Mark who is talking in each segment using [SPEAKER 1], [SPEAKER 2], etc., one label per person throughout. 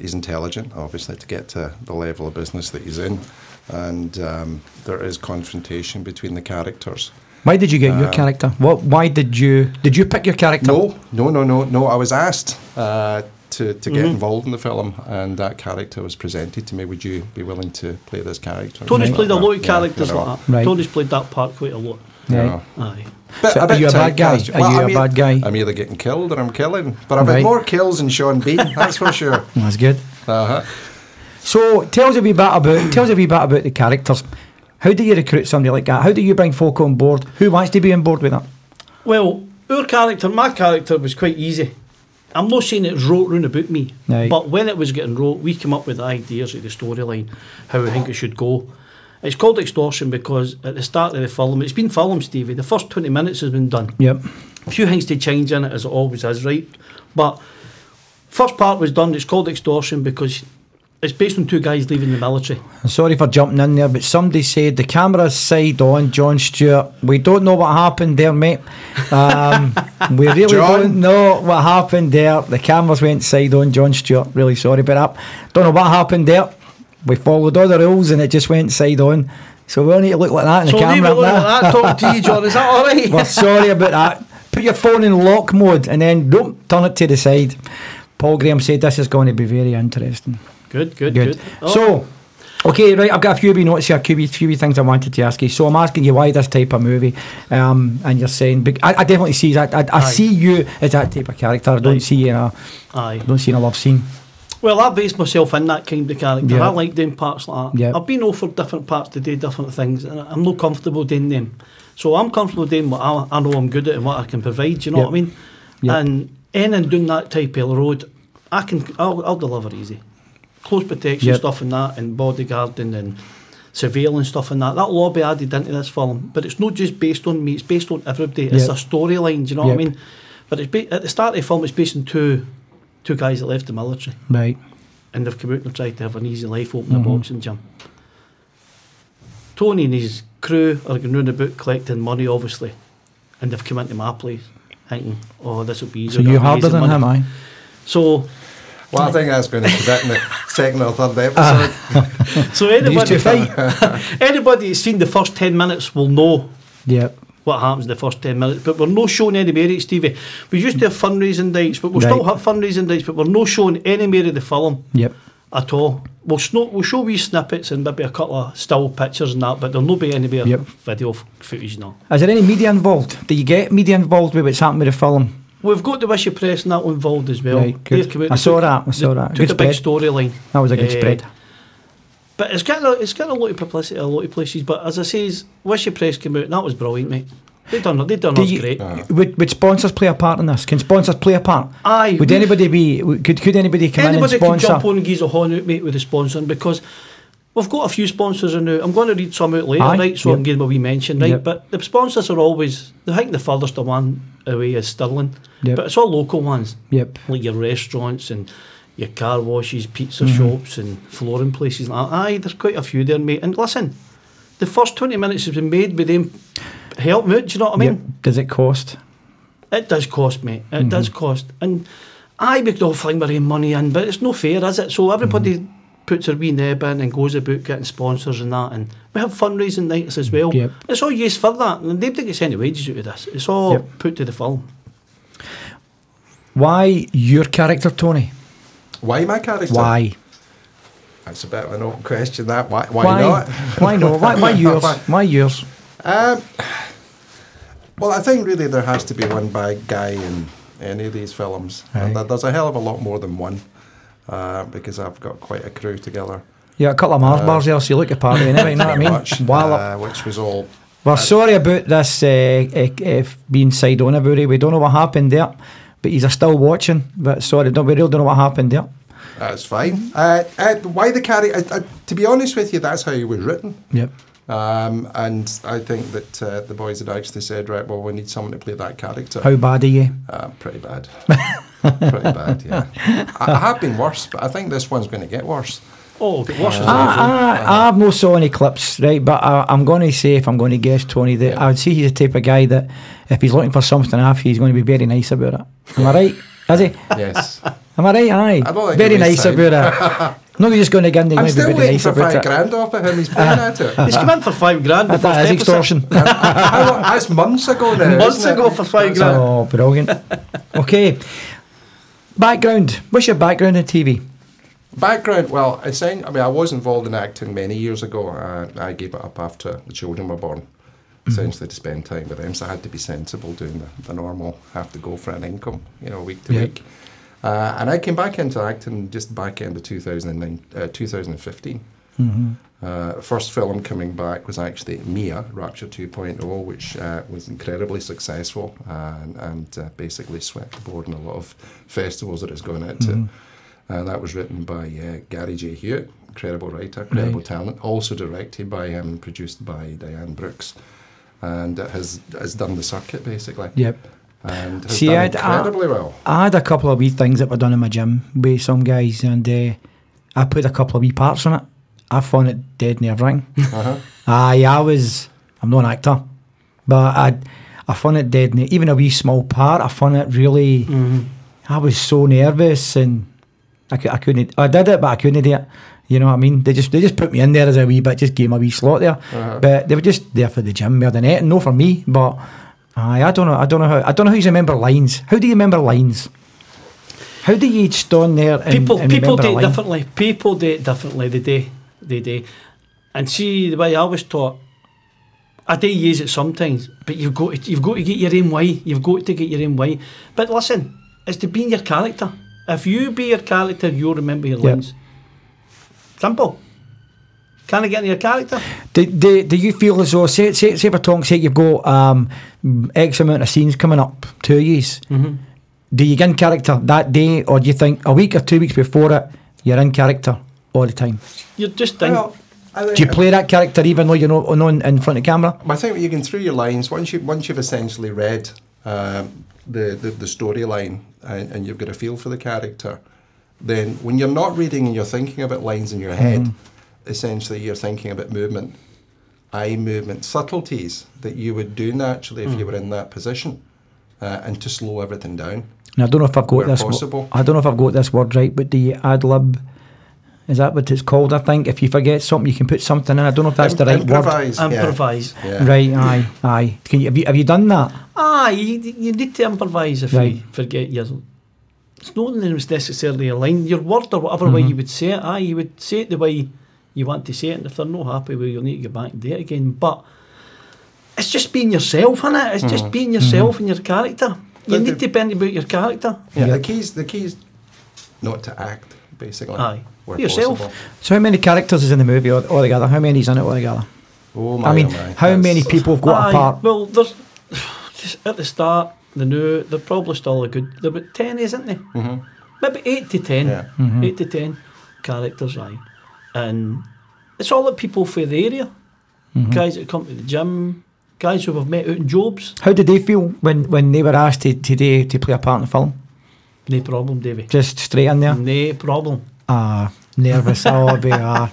[SPEAKER 1] He's intelligent, obviously, to get to the level of business that he's in. And um, there is confrontation between the characters.
[SPEAKER 2] Why did you get
[SPEAKER 1] Uh,
[SPEAKER 2] your character? What? Why did you did you pick your character?
[SPEAKER 1] No, no, no, no, no. I was asked uh, to, to
[SPEAKER 2] Mm-hmm.
[SPEAKER 1] get involved in the film, and that character was presented to me. Would you be willing to play this character?
[SPEAKER 3] Tony's
[SPEAKER 1] Like
[SPEAKER 3] played a
[SPEAKER 1] that,
[SPEAKER 3] lot of
[SPEAKER 1] yeah,
[SPEAKER 3] characters
[SPEAKER 1] you know.
[SPEAKER 3] like that.
[SPEAKER 2] Right.
[SPEAKER 3] Tony's played that part quite a lot.
[SPEAKER 2] Right.
[SPEAKER 1] Yeah.
[SPEAKER 3] Aye.
[SPEAKER 1] But
[SPEAKER 2] So
[SPEAKER 1] a
[SPEAKER 2] are
[SPEAKER 1] bit
[SPEAKER 2] you a bad guy?
[SPEAKER 1] typecast.
[SPEAKER 2] Are you a
[SPEAKER 1] I'm
[SPEAKER 2] bad
[SPEAKER 1] eith-
[SPEAKER 2] guy?
[SPEAKER 1] I'm either getting killed or I'm killing. But I've
[SPEAKER 2] Right.
[SPEAKER 1] had more kills than Sean Bean, that's for sure.
[SPEAKER 2] That's good.
[SPEAKER 1] Uh-huh.
[SPEAKER 2] So tell us a wee bit about tell us a wee bit about the characters. How do you recruit somebody like that? How do you bring folk on board? Who wants to be on board with that?
[SPEAKER 3] Well, our character, my character was quite easy. I'm not saying it's wrote round about me,
[SPEAKER 2] Aye.
[SPEAKER 3] but when it was getting wrote, we came up with the ideas of the storyline, how I think it should go. It's called extortion because at the start of the film, it's been filmed, Stevie. The first 20 minutes has been done.
[SPEAKER 2] Yep.
[SPEAKER 3] A few things to change in it, as it always is, right? But first part was done. It's called extortion because it's based on two guys leaving the military.
[SPEAKER 2] I'm sorry for jumping in there, but somebody said the camera's side on John Stewart. We don't know what happened there, mate. Um, we really
[SPEAKER 1] John?
[SPEAKER 2] don't know what happened there. The cameras went side on John Stewart. Really sorry about that. Don't know what happened there. We followed all the rules and it just went side on. So we all need to look like that in
[SPEAKER 3] so
[SPEAKER 2] the
[SPEAKER 3] leave it
[SPEAKER 2] camera.
[SPEAKER 3] alone
[SPEAKER 2] now.
[SPEAKER 3] like that. Talking to you, John. Is that all right?
[SPEAKER 2] We're sorry about that. Put your phone in lock mode and then don't turn it to the side. Paul Graham said this is going to be very interesting.
[SPEAKER 3] Good, good,
[SPEAKER 2] Good.
[SPEAKER 3] good. Oh,
[SPEAKER 2] So, okay, right. I've got a few wee notes here, a few, wee- few wee things I wanted to ask you. So, I'm asking you why this type of movie, um, and you're saying, bec- I, I definitely see that. I, I
[SPEAKER 3] Aye.
[SPEAKER 2] see you as that type of character. I don't
[SPEAKER 3] Aye.
[SPEAKER 2] see you in a,
[SPEAKER 3] aye.
[SPEAKER 2] I don't see you in a love scene.
[SPEAKER 3] Well, I based myself in that kind of character.
[SPEAKER 2] Yeah.
[SPEAKER 3] I like doing parts like that.
[SPEAKER 2] Yeah.
[SPEAKER 3] I've been offered different parts to do different things, and I'm not comfortable doing them. So I'm comfortable doing what I, I know I'm good at and what I can provide. You know
[SPEAKER 2] Yeah.
[SPEAKER 3] what I mean?
[SPEAKER 2] Yeah.
[SPEAKER 3] And in and doing that type of road, I can I'll, I'll deliver easy, close protection
[SPEAKER 2] Yeah.
[SPEAKER 3] stuff and that, and bodyguarding and surveillance stuff and that. That'll all be added into this film, but it's not just based on me. It's based on everybody. It's
[SPEAKER 2] Yeah.
[SPEAKER 3] a storyline. Do you know what I
[SPEAKER 2] Yep.
[SPEAKER 3] mean? But it's ba- at the start of the film, it's based on two two guys that left the military
[SPEAKER 2] Right.
[SPEAKER 3] and they've come out and tried to have an easy life opening
[SPEAKER 2] Mm-hmm.
[SPEAKER 3] a boxing gym. Tony and his crew are going round about collecting money, obviously, and they've come into my place thinking, "Oh, this will be easy."
[SPEAKER 2] So, you're harder than him, I.
[SPEAKER 3] So,
[SPEAKER 1] Well, I think that's going to be that in the second or third episode.
[SPEAKER 2] Uh-huh.
[SPEAKER 3] so
[SPEAKER 2] These
[SPEAKER 3] anybody,
[SPEAKER 2] two fight.
[SPEAKER 3] anybody that's seen the first ten minutes will know
[SPEAKER 2] yeah.
[SPEAKER 3] what happens in the first 10 minutes. But we're not showing any merit, Stevie. We used to have fundraising nights, but we'll still
[SPEAKER 2] Right.
[SPEAKER 3] have fundraising nights, but we're not showing any merit of the film
[SPEAKER 2] Yep.
[SPEAKER 3] at all. We'll, sno we'll show wee snippets and maybe a couple of still pictures and that, but there'll not be any bit of
[SPEAKER 2] Yep.
[SPEAKER 3] video f- footage and all.
[SPEAKER 2] Is there any media involved? Do you get media involved with what's happened with the film?
[SPEAKER 3] We've got the Wishy Press and that one involved as well.
[SPEAKER 2] Right, good.
[SPEAKER 3] They've come out
[SPEAKER 2] I
[SPEAKER 3] and
[SPEAKER 2] saw
[SPEAKER 3] took-
[SPEAKER 2] that, I saw
[SPEAKER 3] they
[SPEAKER 2] that.
[SPEAKER 3] Took
[SPEAKER 2] Good
[SPEAKER 3] a big
[SPEAKER 2] spread.
[SPEAKER 3] storyline.
[SPEAKER 2] That was a good
[SPEAKER 3] Eh,
[SPEAKER 2] spread.
[SPEAKER 3] But it's getting, a, it's getting a lot of publicity in a lot of places. But as I say, Wishy Press came out and that was brilliant, mate. They done they done
[SPEAKER 2] Do
[SPEAKER 3] us
[SPEAKER 2] you-
[SPEAKER 3] great.
[SPEAKER 1] Uh,
[SPEAKER 2] Would, would sponsors play a part in this? Can sponsors play a part?
[SPEAKER 3] Aye,
[SPEAKER 2] Would
[SPEAKER 3] we-
[SPEAKER 2] anybody be? w- Could could anybody come
[SPEAKER 3] Anybody
[SPEAKER 2] in and
[SPEAKER 3] can
[SPEAKER 2] sponsor?
[SPEAKER 3] jump on and give us a horn out, mate, with the sponsoring because we've got a few sponsors in now. I'm going to read some out later,
[SPEAKER 2] Aye,
[SPEAKER 3] right? So
[SPEAKER 2] yep.
[SPEAKER 3] I'm giving them a wee mention, right?
[SPEAKER 2] Yep.
[SPEAKER 3] But the sponsors are always, I think the furthest one away is Stirling,
[SPEAKER 2] Yep.
[SPEAKER 3] but it's all local ones,
[SPEAKER 2] Yep.
[SPEAKER 3] like your restaurants and your car washes, pizza
[SPEAKER 2] Mm-hmm.
[SPEAKER 3] shops, and flooring places. Like that. Aye, there's quite a few there, mate. And listen, the first 20 minutes has been made with them help me out, do you know what I mean?
[SPEAKER 2] Yep. Does it cost?
[SPEAKER 3] It does cost, mate. It
[SPEAKER 2] Mm-hmm.
[SPEAKER 3] does cost. And I make all fling my own money in, but it's no fair, is it? So everybody
[SPEAKER 2] Mm-hmm.
[SPEAKER 3] puts their wee nib in and goes about getting sponsors and that. And we have fundraising nights as well.
[SPEAKER 2] Yep.
[SPEAKER 3] It's all used for that. And they don't get any wages out of this. It's all
[SPEAKER 2] Yep.
[SPEAKER 3] put to the film.
[SPEAKER 2] Why your character, Tony?
[SPEAKER 1] Why my character?
[SPEAKER 2] Why?
[SPEAKER 1] That's a bit of an open question, that. Why, why,
[SPEAKER 2] Why
[SPEAKER 1] not?
[SPEAKER 2] Why not? Why, why yours?
[SPEAKER 1] Why-
[SPEAKER 2] Why yours?
[SPEAKER 1] Um, well, I think really there has to be one bad guy in any of these films. And
[SPEAKER 2] Aye.
[SPEAKER 1] there- there's a hell of a lot more than one uh, because I've got quite a crew together.
[SPEAKER 2] Yeah, a couple of Mars bars there, so you look at party anyway, you know what I
[SPEAKER 1] Uh, pretty
[SPEAKER 2] mean?
[SPEAKER 1] much,
[SPEAKER 2] Wallop.
[SPEAKER 1] uh, which was all
[SPEAKER 2] We're sorry about this uh, eh, eh, being side on about it. We don't know what happened there, but he's still watching. But sorry, don't, we really don't know what happened there.
[SPEAKER 1] That's fine. Uh, uh, why the carry? Uh, uh, to be honest with you, that's how it was written.
[SPEAKER 2] Yep.
[SPEAKER 1] Um, and I think that uh, the boys had actually said, right, well, we need someone to play that character.
[SPEAKER 2] How bad are you?
[SPEAKER 1] Uh, pretty bad. pretty bad, yeah. I, I have been worse, but I think this one's going to get worse.
[SPEAKER 3] Oh, it worse
[SPEAKER 2] I, I, I've not saw any clips, right? But I, I'm going to say, if I'm going to guess, Tony, that I would say he's the type of guy that if he's looking for something off, he's going to be very nice about it. Am I right? Is he?
[SPEAKER 1] Yes.
[SPEAKER 2] Am I right? Aye.
[SPEAKER 1] I don't think
[SPEAKER 2] very
[SPEAKER 1] it was
[SPEAKER 2] nice
[SPEAKER 1] time.
[SPEAKER 2] about it. no, you're just going to get in there.
[SPEAKER 1] I'm
[SPEAKER 2] you're
[SPEAKER 1] still
[SPEAKER 2] gonna be
[SPEAKER 1] waiting
[SPEAKER 2] nice
[SPEAKER 1] for
[SPEAKER 2] about
[SPEAKER 1] five
[SPEAKER 2] it.
[SPEAKER 1] grand off of him. He's playing at it.
[SPEAKER 3] He's come in for five grand. the
[SPEAKER 2] That- that
[SPEAKER 3] first
[SPEAKER 2] is
[SPEAKER 3] episode.
[SPEAKER 2] extortion.
[SPEAKER 1] How- That's months ago now.
[SPEAKER 3] Months
[SPEAKER 1] isn't it?
[SPEAKER 3] ago for five
[SPEAKER 1] That's-
[SPEAKER 3] grand.
[SPEAKER 2] oh, brilliant. Okay. Background. What's your background in TV?
[SPEAKER 1] Background, well, I sang, I mean, I was involved in acting many years ago. I, I gave it up after the children were born,
[SPEAKER 2] Mm-hmm.
[SPEAKER 1] essentially to spend time with them. So I had to be sensible doing the, the normal, have to go for an income, you know, week to
[SPEAKER 2] Yeah.
[SPEAKER 1] week. Uh, and I came back into acting just back end of 2009, uh, 2015. Uh, first film coming back was actually Mia, Rapture 2.0, which uh, was incredibly successful and, and uh, basically swept the board in a lot of festivals that it's gone out to.
[SPEAKER 2] Mm-hmm.
[SPEAKER 1] Uh, that was written by uh, Gary J. Hewitt, incredible writer, incredible talent, also directed by him and produced by Diane Brooks, and has has done the circuit basically.
[SPEAKER 2] Yep.
[SPEAKER 1] And has
[SPEAKER 2] See,
[SPEAKER 1] done
[SPEAKER 2] I'd- uh, I-
[SPEAKER 1] incredibly well.
[SPEAKER 2] I had a couple of wee things that were done in my gym with some guys, and uh, I played a couple of wee parts in it. I found it dead nerve wracking.
[SPEAKER 1] Uh-huh.
[SPEAKER 2] Aye, I was. I'm not an actor, but I, I found it dead. ner- Even a wee small part, I found it really.
[SPEAKER 3] Mm-hmm.
[SPEAKER 2] I was so nervous, and I, cou- I couldn't. I did it, but I couldn't do it. You know what I mean? They just they just put me in there as a wee bit, just gave me a wee slot there.
[SPEAKER 1] Uh-huh.
[SPEAKER 2] But they were just there for the gym more than it, no for me. But aye, I don't know. I don't know how. I don't know how you remember lines. How do you remember lines? How do you stand there? And,
[SPEAKER 3] people
[SPEAKER 2] and
[SPEAKER 3] people
[SPEAKER 2] remember a
[SPEAKER 3] date
[SPEAKER 2] line?
[SPEAKER 3] differently. People date differently. They do. They do. And see the way I was taught. I do use it sometimes, but you've got to, you've got to get your own way. You've got to get your own way. But listen, it's to be in your character. If you be your character, you'll remember your
[SPEAKER 2] Yep.
[SPEAKER 3] lines. Simple. Can I get into your character?
[SPEAKER 2] Do, do, do you feel as though, say, say, say for Tonks sake, you've got um, X amount of scenes coming up, two years. Mm-hmm. Do you get in character that day, or do you think a week or two weeks before it, you're in character all the time?
[SPEAKER 3] You're just doing.
[SPEAKER 1] I think-
[SPEAKER 2] Do you play that character even though you're not, not in front of camera?
[SPEAKER 1] I think you can through your lines once you once you've essentially read um, the the, the storyline and, and you've got a feel for the character, then when you're not reading and you're thinking about lines in your head,
[SPEAKER 2] Mm-hmm.
[SPEAKER 1] essentially you're thinking about movement, eye movement, subtleties that you would do naturally if
[SPEAKER 2] Mm.
[SPEAKER 1] you were in that position, uh, and to slow everything down.
[SPEAKER 2] And I don't know if I've got
[SPEAKER 1] Where
[SPEAKER 2] this. wo-
[SPEAKER 1] possible.
[SPEAKER 2] I don't know if I've got this word right, but do you ad lib? Is that what it's called? I think if you forget something, you can put something in. I don't know if that's the right word.
[SPEAKER 1] improvise, yeah.
[SPEAKER 3] Improvise.
[SPEAKER 1] Yeah.
[SPEAKER 2] Right, aye, aye. Can you, have you have you done that?
[SPEAKER 3] Ah, you, you need to improvise if
[SPEAKER 2] Right.
[SPEAKER 3] you forget your. It's not that it was necessarily a line, your word or whatever way you would say it. Ah, you would say it the way you want to say it, and if they're not happy with you, you'll need to go back and do it again. But it's just being yourself, is it? It's just being yourself and your character. You
[SPEAKER 1] But
[SPEAKER 3] need
[SPEAKER 1] the-
[SPEAKER 3] to bend about your character.
[SPEAKER 1] Yeah,
[SPEAKER 2] Yeah.
[SPEAKER 1] The keys the keys not to act basically.
[SPEAKER 3] Aye.
[SPEAKER 1] where
[SPEAKER 3] Yourself.
[SPEAKER 1] possible.
[SPEAKER 2] So how many characters is in the movie all- altogether? How many's in it altogether?
[SPEAKER 1] Oh my!
[SPEAKER 2] I mean,
[SPEAKER 1] oh my.
[SPEAKER 2] how many
[SPEAKER 1] That's-
[SPEAKER 2] people have got
[SPEAKER 3] Aye,
[SPEAKER 2] a part?
[SPEAKER 3] Well, there's just at the start, the new, they're probably still a good. They're about 10, isn't they?
[SPEAKER 1] Mhm.
[SPEAKER 3] Maybe 8 to 10.
[SPEAKER 1] Yeah.
[SPEAKER 3] 8 to 10 characters, aye. And it's all the people for the area. Guys that come to the gym, guys who have met out in jobs.
[SPEAKER 2] How did they feel when, when they were asked to, today to play a part in the film?
[SPEAKER 3] No problem, Davy.
[SPEAKER 2] Just straight in
[SPEAKER 1] Mm.
[SPEAKER 2] there?
[SPEAKER 3] No problem.
[SPEAKER 2] Ah, nervous. oh, I'd be, ah,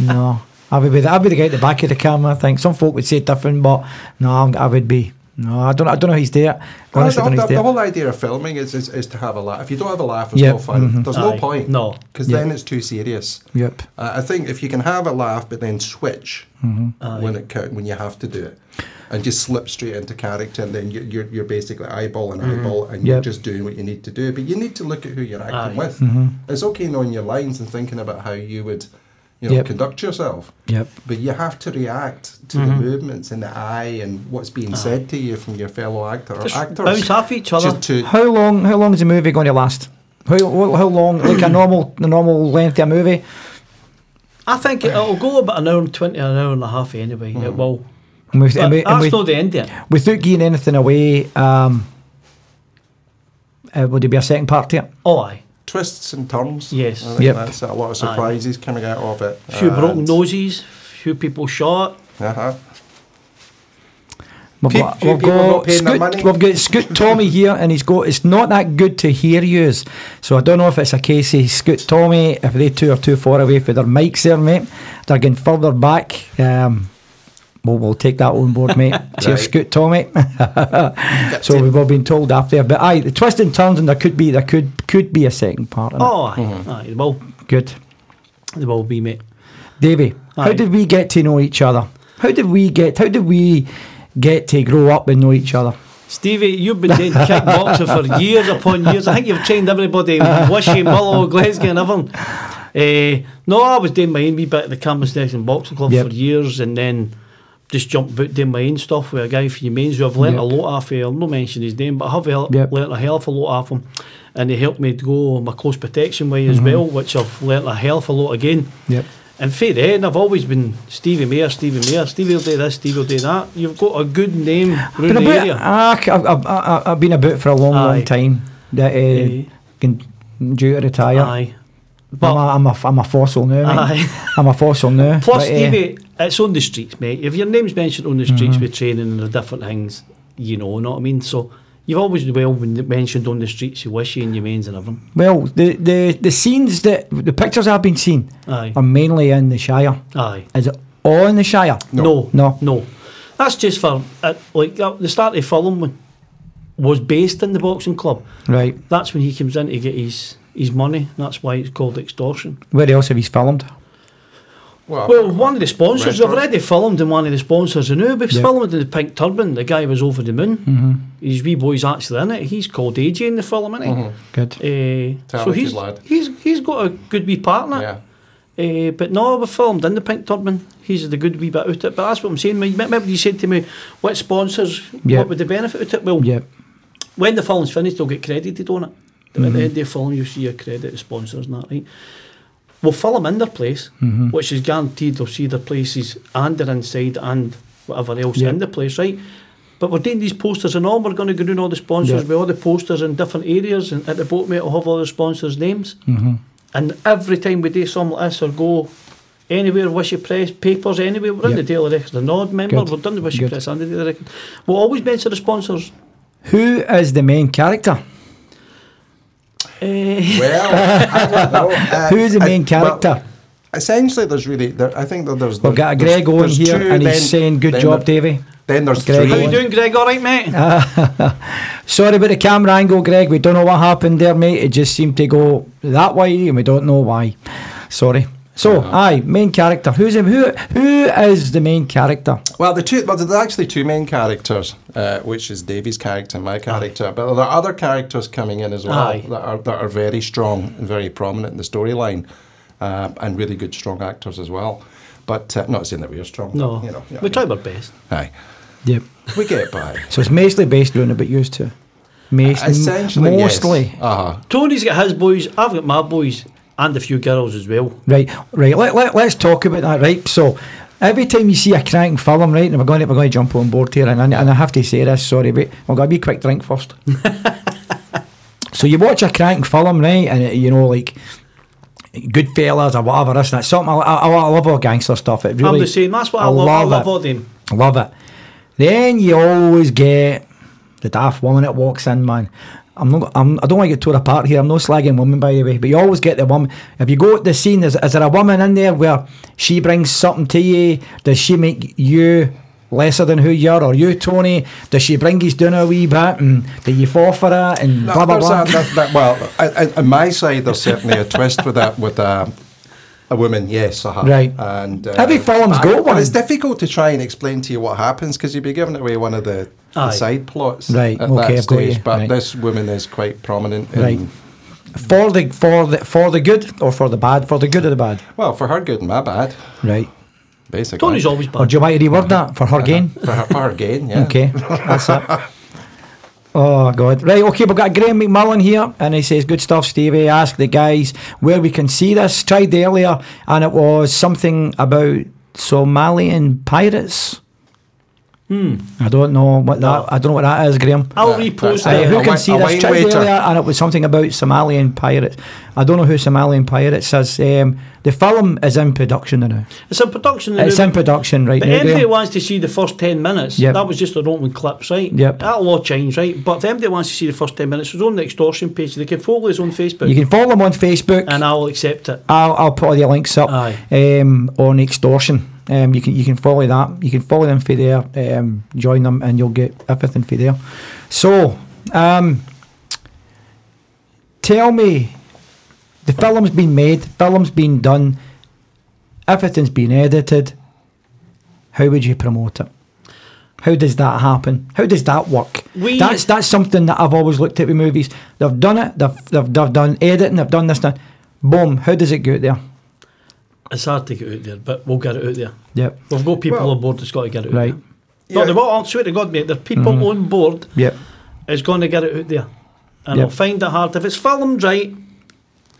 [SPEAKER 2] no. I would be, the, I would be the guy at the back of the camera, I think. Some folk would say different, but no, I'm- i would be, no, I don't, I don't know who's there.
[SPEAKER 1] Well,
[SPEAKER 2] Honestly, I
[SPEAKER 1] the,
[SPEAKER 2] don't know
[SPEAKER 1] the,
[SPEAKER 2] who's there.
[SPEAKER 1] the whole idea of filming is, is, is to have a laugh. If you don't have a laugh, it's
[SPEAKER 2] Yeah,
[SPEAKER 1] no fun.
[SPEAKER 2] mhm.
[SPEAKER 1] There's
[SPEAKER 3] Aye,
[SPEAKER 1] no point.
[SPEAKER 3] no.
[SPEAKER 1] Because
[SPEAKER 2] Yeah.
[SPEAKER 1] then it's too serious.
[SPEAKER 2] Yep.
[SPEAKER 1] Uh, I think if you can have a laugh, but then switch
[SPEAKER 2] Mm-hmm.
[SPEAKER 1] when it cou- when you have to do it, and just slip straight into character, and then you, you're you're basically eyeball
[SPEAKER 3] Mm-hmm.
[SPEAKER 1] and eyeball, and
[SPEAKER 2] Yep.
[SPEAKER 1] you're just doing what you need to do. But you need to look at who you're acting
[SPEAKER 3] Aye.
[SPEAKER 1] with.
[SPEAKER 2] Mm-hmm.
[SPEAKER 1] It's okay knowing your lines and thinking about how you would, you know,
[SPEAKER 2] Yep.
[SPEAKER 1] conduct yourself.
[SPEAKER 2] Yep.
[SPEAKER 1] But you have to react to
[SPEAKER 2] Mm-hmm.
[SPEAKER 1] the movements in the eye and what's being
[SPEAKER 2] Ah.
[SPEAKER 1] said to you from your fellow actor or
[SPEAKER 3] Just
[SPEAKER 1] actors.
[SPEAKER 3] bounce off each other.
[SPEAKER 1] Just to,
[SPEAKER 2] How long, how long is the movie going to last? How, how how long, like a normal, the normal length of a movie?
[SPEAKER 3] I think it'll go about an hour and 20, an hour and a half anyway. It will.
[SPEAKER 2] And we-
[SPEAKER 3] But
[SPEAKER 2] and we- and
[SPEAKER 3] Uh, that's
[SPEAKER 2] we-
[SPEAKER 3] not the end yet.
[SPEAKER 2] Without giving anything away, um, uh, would there be a second part to it?
[SPEAKER 3] Oh, aye.
[SPEAKER 1] twists and turns.
[SPEAKER 3] Yes.
[SPEAKER 1] I think
[SPEAKER 2] Yep.
[SPEAKER 1] that's a lot of surprises coming out of it.
[SPEAKER 3] A few broken
[SPEAKER 1] and-
[SPEAKER 3] noses, few people shot.
[SPEAKER 1] Uh-huh.
[SPEAKER 2] We've
[SPEAKER 1] Pe-
[SPEAKER 2] got,
[SPEAKER 1] few
[SPEAKER 2] we've
[SPEAKER 1] people
[SPEAKER 2] got
[SPEAKER 1] not paying their
[SPEAKER 2] Scoot,
[SPEAKER 1] money.
[SPEAKER 2] We've got Scoot Tommy here, and he's got. It's not that good to hear yous, so I don't know if it's a case of Scoot Tommy if they two are too far away for their mics there, mate. They're getting further back. Um, We'll, we'll take that on board, mate. Cheers,
[SPEAKER 1] Right.
[SPEAKER 2] Scoot Tommy. so we've all been told after, but aye, the twist and turns, and there could be there could could be a second part. In
[SPEAKER 3] Oh, aye, aye, they will,
[SPEAKER 2] it. good,
[SPEAKER 3] they will be, mate.
[SPEAKER 2] Davey. How
[SPEAKER 3] Aye.
[SPEAKER 2] did we get to know each other? How did we get? How did we get to grow up and know each other?
[SPEAKER 3] Stevie, you've been doing kickboxing for years upon years. I think you've trained everybody in Wishy, Mullow, Glasgow and everything. Eh, no, I was doing my own wee bit at the Campus Nation Boxing Club
[SPEAKER 2] Yep.
[SPEAKER 3] for years and then just jumped about doing my own stuff with a guy from Humanes who I've learnt a
[SPEAKER 2] Yep.
[SPEAKER 3] lot off of. I'll not mention his name, but I have hel-
[SPEAKER 2] Yep.
[SPEAKER 3] learnt a hell of a lot off him. And he helped me to go my close protection way
[SPEAKER 2] Mm-hmm.
[SPEAKER 3] as well, which I've learnt a hell of a lot again.
[SPEAKER 2] Yep.
[SPEAKER 3] And fair end, I've always been Stevie Mayer, Stevie Mayer, Stevie will do this, Stevie will do that. You've got a good name
[SPEAKER 2] Been
[SPEAKER 3] around the
[SPEAKER 2] about,
[SPEAKER 3] area.
[SPEAKER 2] ah, c- I've, I've, I've- I've been about for a long,
[SPEAKER 3] Aye.
[SPEAKER 2] long time. That uh,
[SPEAKER 3] Aye.
[SPEAKER 2] can due to retire.
[SPEAKER 3] Aye.
[SPEAKER 2] I'm, a,
[SPEAKER 3] But
[SPEAKER 2] I'm, a, I'm a fossil now. Mate.
[SPEAKER 3] Aye.
[SPEAKER 2] I'm a fossil now.
[SPEAKER 3] plus,
[SPEAKER 2] but, eh,
[SPEAKER 3] Stevie, it's on the streets, mate. If your name's mentioned on the streets with training and the different things, you know, know what I mean? So you've always well been mentioned on the streets, you wishy and you mains and everything.
[SPEAKER 2] Well, the, the, the scenes that the pictures I've been seeing
[SPEAKER 3] Aye.
[SPEAKER 2] are mainly in the Shire.
[SPEAKER 3] Aye.
[SPEAKER 2] Is it all in the Shire?
[SPEAKER 3] No.
[SPEAKER 2] No.
[SPEAKER 3] No. That's just for, uh, like, uh, the start of Fulham one was based in the boxing club.
[SPEAKER 2] Right.
[SPEAKER 3] That's when he comes in to get his, his money. That's why it's called extortion.
[SPEAKER 2] Where else have you filmed?
[SPEAKER 3] Well, one of the sponsors, I've
[SPEAKER 1] Restaurant.
[SPEAKER 3] already filmed in one of the sponsors, and now we've
[SPEAKER 2] Yeah.
[SPEAKER 3] filmed in the Pink Turban. The guy was over the moon. Mm-hmm. His wee boy's actually in it. He's called AJ in the film, isn't he?
[SPEAKER 1] mm-hmm.
[SPEAKER 2] Good.
[SPEAKER 3] Uh, so
[SPEAKER 1] Talented
[SPEAKER 3] he's,
[SPEAKER 1] lad.
[SPEAKER 3] he's he's got a good wee partner.
[SPEAKER 1] yeah.
[SPEAKER 3] Eh, but no, we filmed in the Pink Turban. He's the good wee bit out of it. But that's what I'm saying. mate. Remember you said to me, what sponsors,
[SPEAKER 2] Yeah.
[SPEAKER 3] what would the benefit out of it? Well,
[SPEAKER 2] Yep.
[SPEAKER 3] when the film's finished, they'll get credited on it. At
[SPEAKER 2] Mm-hmm.
[SPEAKER 3] the end of the film, you see a credit of sponsors and that, right? We'll fill them in their place,
[SPEAKER 2] Mm-hmm.
[SPEAKER 3] which is guaranteed they'll see their places and their inside and whatever else
[SPEAKER 2] Yeah.
[SPEAKER 3] in the place, right? But we're doing these posters and all, we're going to go doing all the sponsors
[SPEAKER 2] Yeah.
[SPEAKER 3] with all the posters in different areas and at the boat mate will have all the sponsors' names.
[SPEAKER 2] Mm-hmm.
[SPEAKER 3] And every time we do something like this or go anywhere, Wishy Press, papers, anywhere, we're in
[SPEAKER 2] Yeah.
[SPEAKER 3] the Daily Record, the Nod member,
[SPEAKER 2] Good.
[SPEAKER 3] we're done the Wishy
[SPEAKER 2] Good.
[SPEAKER 3] Press and the Daily Record. We'll always mention the sponsors.
[SPEAKER 2] Who is the main character?
[SPEAKER 3] Eh,
[SPEAKER 1] Well, I don't know. Uh,
[SPEAKER 2] Who's the
[SPEAKER 1] I-
[SPEAKER 2] main
[SPEAKER 1] well,
[SPEAKER 2] character?
[SPEAKER 1] essentially, there's really. There, I think that there's.
[SPEAKER 2] We've got a
[SPEAKER 1] there's-
[SPEAKER 2] Greg Owen
[SPEAKER 1] there's
[SPEAKER 2] here,
[SPEAKER 1] two,
[SPEAKER 2] and he's
[SPEAKER 1] then-
[SPEAKER 2] saying, "Good
[SPEAKER 1] then
[SPEAKER 2] job,
[SPEAKER 1] there-
[SPEAKER 2] Davey."
[SPEAKER 1] Then there's
[SPEAKER 2] Greg
[SPEAKER 3] How
[SPEAKER 1] three.
[SPEAKER 3] you
[SPEAKER 2] Owen.
[SPEAKER 3] doing, Greg? All right, mate.
[SPEAKER 2] Uh, Sorry about the camera angle, Greg. We don't know what happened there, mate. It just seemed to go that way, and we don't know why. Sorry. So, aye, main character. Who's him? Who? Who is the main character?
[SPEAKER 1] Well, the two. Well, there's actually two main characters, uh, which is Davy's character and my character. But there are other characters coming in as well
[SPEAKER 3] Ah. Aye.
[SPEAKER 1] that are that are very strong and very prominent in the storyline, uh, and really good strong actors as well. But uh, not saying that we are strong.
[SPEAKER 3] no,
[SPEAKER 1] you know, you know
[SPEAKER 3] we
[SPEAKER 1] what I
[SPEAKER 3] try
[SPEAKER 1] mean.
[SPEAKER 3] our best.
[SPEAKER 1] Aye,
[SPEAKER 2] Yep.
[SPEAKER 1] we get by.
[SPEAKER 2] So it's mostly based on about used to. Mostly.
[SPEAKER 1] Essentially,
[SPEAKER 2] mostly.
[SPEAKER 1] Yes. Uh-huh.
[SPEAKER 3] Tony's got his boys. I've got my boys and a few girls as well.
[SPEAKER 2] Right, right. Let, let, let's talk about that, right? So, every time you see a cracking film, right, and we're going to, we're going to jump on board here, and, I- and I have to say this, sorry, but I've got a wee quick drink first. so, you watch a cracking film, right, and it, you know, like Goodfellas or whatever, this and that. Something, I, I, I love all gangster stuff. It really,
[SPEAKER 3] I'm the same. That's what I, love. I love all them.
[SPEAKER 2] I love it. Then you always get the daft woman that walks in, man. I'm not. I'm, I don't want to get torn apart here. I'm no slagging women, by the way. But you always get the woman. If you go at the scene, is, is there a woman in there where she brings something to you? Does she make you lesser than who you are, or you, Tony? Does she bring you down a wee bit, and do you fall for it, and
[SPEAKER 1] No,
[SPEAKER 2] blah blah
[SPEAKER 1] there's
[SPEAKER 2] blah?
[SPEAKER 1] a- that- that- well, I- I- on my side, there's certainly a twist with that with a, a woman. Yes, uh-huh.
[SPEAKER 2] Right.
[SPEAKER 1] And uh,
[SPEAKER 2] Every film's
[SPEAKER 1] I-
[SPEAKER 2] got
[SPEAKER 1] but
[SPEAKER 2] one.
[SPEAKER 1] It's difficult to try and explain to you what happens because you'd be giving away one of the, the
[SPEAKER 3] Aye.
[SPEAKER 1] side plots
[SPEAKER 2] Right,
[SPEAKER 1] at
[SPEAKER 2] okay,
[SPEAKER 1] that
[SPEAKER 2] I've got
[SPEAKER 1] stage.
[SPEAKER 2] you,
[SPEAKER 1] But
[SPEAKER 2] right.
[SPEAKER 1] this woman is quite prominent. In,
[SPEAKER 2] Right. for the for the for the good or for the bad? For the good or the bad?
[SPEAKER 1] Well, for her good and my bad,
[SPEAKER 2] Right.
[SPEAKER 1] basically.
[SPEAKER 3] Tony's always
[SPEAKER 2] Or
[SPEAKER 3] bad.
[SPEAKER 2] do you want to reword that for her gain?
[SPEAKER 1] for her, for her gain. Yeah.
[SPEAKER 2] Okay, that's it. Oh God! Right, okay, we've got Graham McMullen here, and he says, "Good stuff, Stevie. Ask the guys where we can see this. Tried earlier, and it was something about Somalian pirates. Hmm. I don't know what that. I don't know what that is, Graham.
[SPEAKER 3] I'll
[SPEAKER 1] Uh,
[SPEAKER 3] repost
[SPEAKER 1] I-
[SPEAKER 2] Aye,
[SPEAKER 1] I-
[SPEAKER 3] it.
[SPEAKER 2] who
[SPEAKER 1] A
[SPEAKER 2] can
[SPEAKER 1] wi-
[SPEAKER 2] see
[SPEAKER 1] a
[SPEAKER 2] this
[SPEAKER 1] wine
[SPEAKER 2] tried
[SPEAKER 1] waiter.
[SPEAKER 2] earlier, and it was something about Somalian pirates. I don't know who Somalian pirates is. Um, the film is in production now.
[SPEAKER 3] It's in production.
[SPEAKER 2] It's
[SPEAKER 3] now,
[SPEAKER 2] in production right
[SPEAKER 3] but
[SPEAKER 2] now.
[SPEAKER 3] anybody
[SPEAKER 2] Graham.
[SPEAKER 3] wants to see the first 10 minutes,
[SPEAKER 2] Yep.
[SPEAKER 3] that was just an opening clips, right?
[SPEAKER 2] Yep.
[SPEAKER 3] That'll all change, right? But if anybody wants to see the first 10 minutes, it's on the extortion page. They can follow us on Facebook
[SPEAKER 2] You can follow them on Facebook.
[SPEAKER 3] and I'll accept it.
[SPEAKER 2] I'll, I'll put all the links up
[SPEAKER 3] Aye.
[SPEAKER 2] um, on extortion. Uh, Um, you can you can follow that. You can follow them for there. Um, join them, and you'll get everything for there. So, um, tell me, the film's been made, film's been done, everything's been edited. How would you promote it? How does that happen? How does that work?
[SPEAKER 3] We-
[SPEAKER 2] that's that's something that I've always looked at with movies. They've done it. They've they've, they've done editing. They've done this. Done. Boom. How does it go out there?
[SPEAKER 3] It's hard to get out there, but we'll get it out there.
[SPEAKER 2] Yep.
[SPEAKER 3] We've got people
[SPEAKER 1] Well-
[SPEAKER 3] on board that's got to get it out
[SPEAKER 2] Right. Mm-hmm.
[SPEAKER 3] there. No, they won't. I swear to God, mate, there are people on board
[SPEAKER 2] Yep.
[SPEAKER 3] is going to get it out there. And
[SPEAKER 2] Yeah.
[SPEAKER 3] I'll find it hard. If it's filmed right,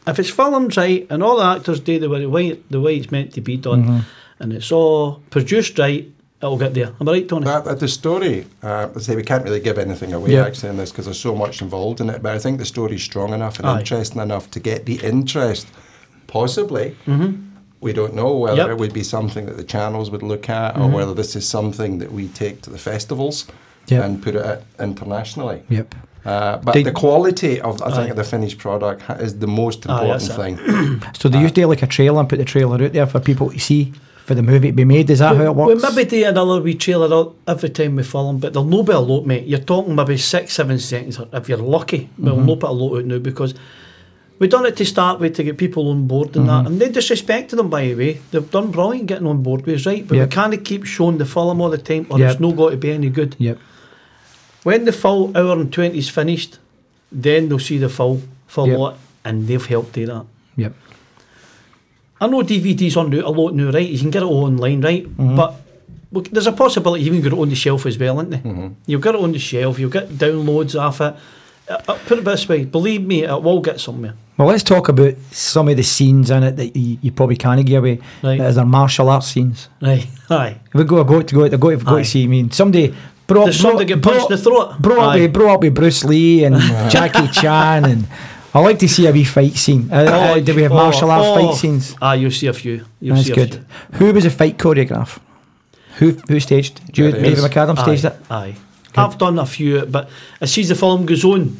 [SPEAKER 3] if it's filmed right and all the actors do the way, way- the way it's meant to be done and it's all produced right, it'll get there. Am I right, Tony?
[SPEAKER 1] That, that the story, uh, as I say, we can't really give anything away
[SPEAKER 2] Yeah.
[SPEAKER 1] actually in this because there's so much involved in it. But I think the story's strong enough and
[SPEAKER 3] Aye.
[SPEAKER 1] interesting enough to get the interest. Possibly, we don't know whether
[SPEAKER 3] Yep.
[SPEAKER 1] it would be something that the channels would look at or whether this is something that we take to the festivals
[SPEAKER 2] Yep.
[SPEAKER 1] and put it out internationally.
[SPEAKER 2] Yep.
[SPEAKER 1] Uh, but
[SPEAKER 2] Did-
[SPEAKER 1] the quality of, I think,
[SPEAKER 3] Aye.
[SPEAKER 1] of the finished product ha- is the most
[SPEAKER 3] Aye,
[SPEAKER 1] important
[SPEAKER 3] that's
[SPEAKER 1] thing.
[SPEAKER 2] So
[SPEAKER 3] Uh,
[SPEAKER 2] they used to do like a trailer and put the trailer out there for people to see for the movie to be made. Is that how it
[SPEAKER 3] We
[SPEAKER 2] works?
[SPEAKER 3] maybe do another wee trailer out every time we film, but there'll no be a lot, mate. You're talking maybe six, seven seconds or if you're lucky. We'll no put a lot out now because we done it to start with to get people on board and that. And they disrespected them by the way. They've done brilliant getting on board with us, right? But
[SPEAKER 2] Yep.
[SPEAKER 3] we can't keep showing the film all the time or
[SPEAKER 2] Yep.
[SPEAKER 3] it's not got to be any good.
[SPEAKER 2] Yep.
[SPEAKER 3] When the full hour and 20 is finished, then they'll see the full, full
[SPEAKER 2] Yep.
[SPEAKER 3] lot and they've helped do that.
[SPEAKER 2] Yep.
[SPEAKER 3] I know DVD's on route a lot now, right? You can get it all online, right?
[SPEAKER 2] Mm-hmm.
[SPEAKER 3] But look, there's a possibility you can get it on the shelf as well, isn't there?
[SPEAKER 2] Mm-hmm.
[SPEAKER 3] You'll get it on the shelf, you'll get downloads off it. Uh, uh, put it this way, believe me, it will get somewhere.
[SPEAKER 2] Well, let's talk about some of the scenes in it that you, you probably can't give away.
[SPEAKER 3] Right.
[SPEAKER 2] Is there martial arts scenes?
[SPEAKER 3] Right. Aye.
[SPEAKER 2] If we go, I go to go to go to, go
[SPEAKER 3] Aye.
[SPEAKER 2] to see. I mean, somebody. Bro,
[SPEAKER 3] Does somebody get punched in the throat?
[SPEAKER 2] Bro, up
[SPEAKER 3] Aye.
[SPEAKER 2] with, bro up with Bruce Lee and Jackie Chan, and I like to see a wee fight scene. Uh, uh, do we have
[SPEAKER 3] oh,
[SPEAKER 2] martial arts
[SPEAKER 3] oh.
[SPEAKER 2] fight scenes?
[SPEAKER 3] Ah, you'll see a few. You'll
[SPEAKER 2] That's
[SPEAKER 3] see a
[SPEAKER 2] good.
[SPEAKER 3] Few.
[SPEAKER 2] Who was the fight choreograph? Who who staged? Jude
[SPEAKER 1] it
[SPEAKER 2] David
[SPEAKER 1] is.
[SPEAKER 2] McAdam staged
[SPEAKER 3] aye,
[SPEAKER 2] it.
[SPEAKER 3] Aye. I've done a few, but as soon as the film goes on,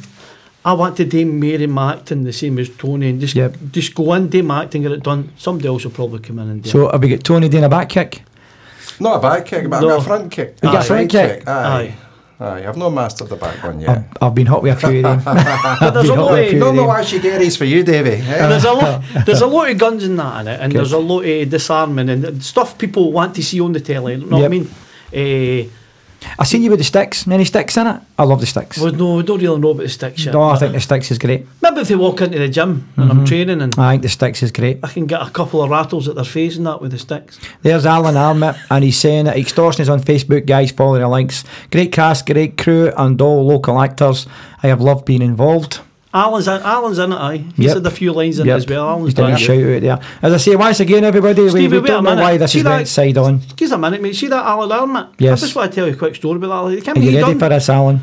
[SPEAKER 3] I want to do Mary acting the same as Tony and just
[SPEAKER 2] Yep.
[SPEAKER 3] just go in, do my acting, get it done. Somebody else will probably come in and do it.
[SPEAKER 2] So have we got Tony doing a back kick?
[SPEAKER 1] Not a back kick, but I've
[SPEAKER 3] No.
[SPEAKER 1] got a front kick.
[SPEAKER 2] You got a
[SPEAKER 1] Aye.
[SPEAKER 2] front
[SPEAKER 1] Side
[SPEAKER 2] kick?
[SPEAKER 1] Aye. Aye. I've not mastered the back one yet.
[SPEAKER 2] I've, I've been hot with a few of them.
[SPEAKER 3] But there's a
[SPEAKER 2] Yeah,
[SPEAKER 3] lot
[SPEAKER 2] okay.
[SPEAKER 3] of
[SPEAKER 1] No,
[SPEAKER 2] Fury
[SPEAKER 1] no,
[SPEAKER 2] Lane.
[SPEAKER 1] actually, Gary's for you, Davey. Eh?
[SPEAKER 3] there's a lot there's a lot of guns in that in it, and there's a lot of disarming and stuff people want to see on the telly. You know
[SPEAKER 2] Yep.
[SPEAKER 3] what I mean? Eh,
[SPEAKER 2] I seen you with the sticks. Any sticks in it? I love the sticks.
[SPEAKER 3] well, no, we don't really know about the sticks yet.
[SPEAKER 2] no, I
[SPEAKER 3] but
[SPEAKER 2] think Mm-hmm. the sticks is great.
[SPEAKER 3] maybe if they walk into the gym and I'm training and
[SPEAKER 2] I think the sticks is great.
[SPEAKER 3] I can get a couple of rattles at their face and that with the sticks.
[SPEAKER 2] There's Alan Armit, and he's saying that extortion is on Facebook. Guys, follow the links. Great cast, great crew, and all local actors. I have loved being involved.
[SPEAKER 3] Alan's in, Alan's in it, aye. He
[SPEAKER 2] Yep.
[SPEAKER 3] said a few lines in it
[SPEAKER 2] Yep.
[SPEAKER 3] as well.
[SPEAKER 2] He's
[SPEAKER 3] Alan's
[SPEAKER 2] done
[SPEAKER 3] done
[SPEAKER 2] a
[SPEAKER 3] it.
[SPEAKER 2] shout out there. As I say, once again, everybody, we,
[SPEAKER 3] Stevie, wait
[SPEAKER 2] we
[SPEAKER 3] a
[SPEAKER 2] don't know
[SPEAKER 3] minute.
[SPEAKER 2] why this
[SPEAKER 3] See
[SPEAKER 2] is
[SPEAKER 3] that-
[SPEAKER 2] went side on.
[SPEAKER 3] Excuse a minute, mate. See that Alan Armit?
[SPEAKER 2] Yes.
[SPEAKER 3] I just want to tell you a quick story about Alan. Can
[SPEAKER 2] Are you
[SPEAKER 3] he,
[SPEAKER 2] ready
[SPEAKER 3] done,
[SPEAKER 2] for this, Alan?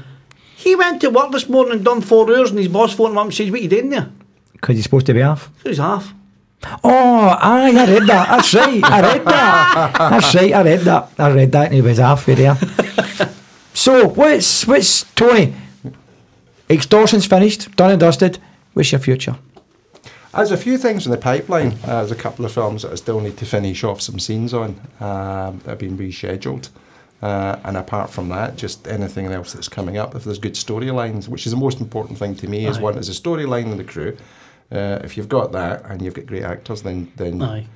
[SPEAKER 3] he went to work this morning and done four hours, and his boss phoned him up and says, What you doing there?
[SPEAKER 2] Because he's supposed to be off.
[SPEAKER 3] He was half.
[SPEAKER 2] Oh, aye, I read that. That's right. I read that. That's right. I read that. I read that, and he was halfway there. So, what's what's Tony? Extortion's finished, done and dusted. What's your future?
[SPEAKER 1] There's a few things in the pipeline. Uh, there's a couple of films that I still need to finish off some scenes on um, that have been rescheduled. Uh, and apart from that, just anything else that's coming up, if there's good storylines, which is the most important thing to me, is
[SPEAKER 3] Aye.
[SPEAKER 1] one is a storyline and the crew. Uh, if you've got that and you've got great actors, then then
[SPEAKER 3] Aye.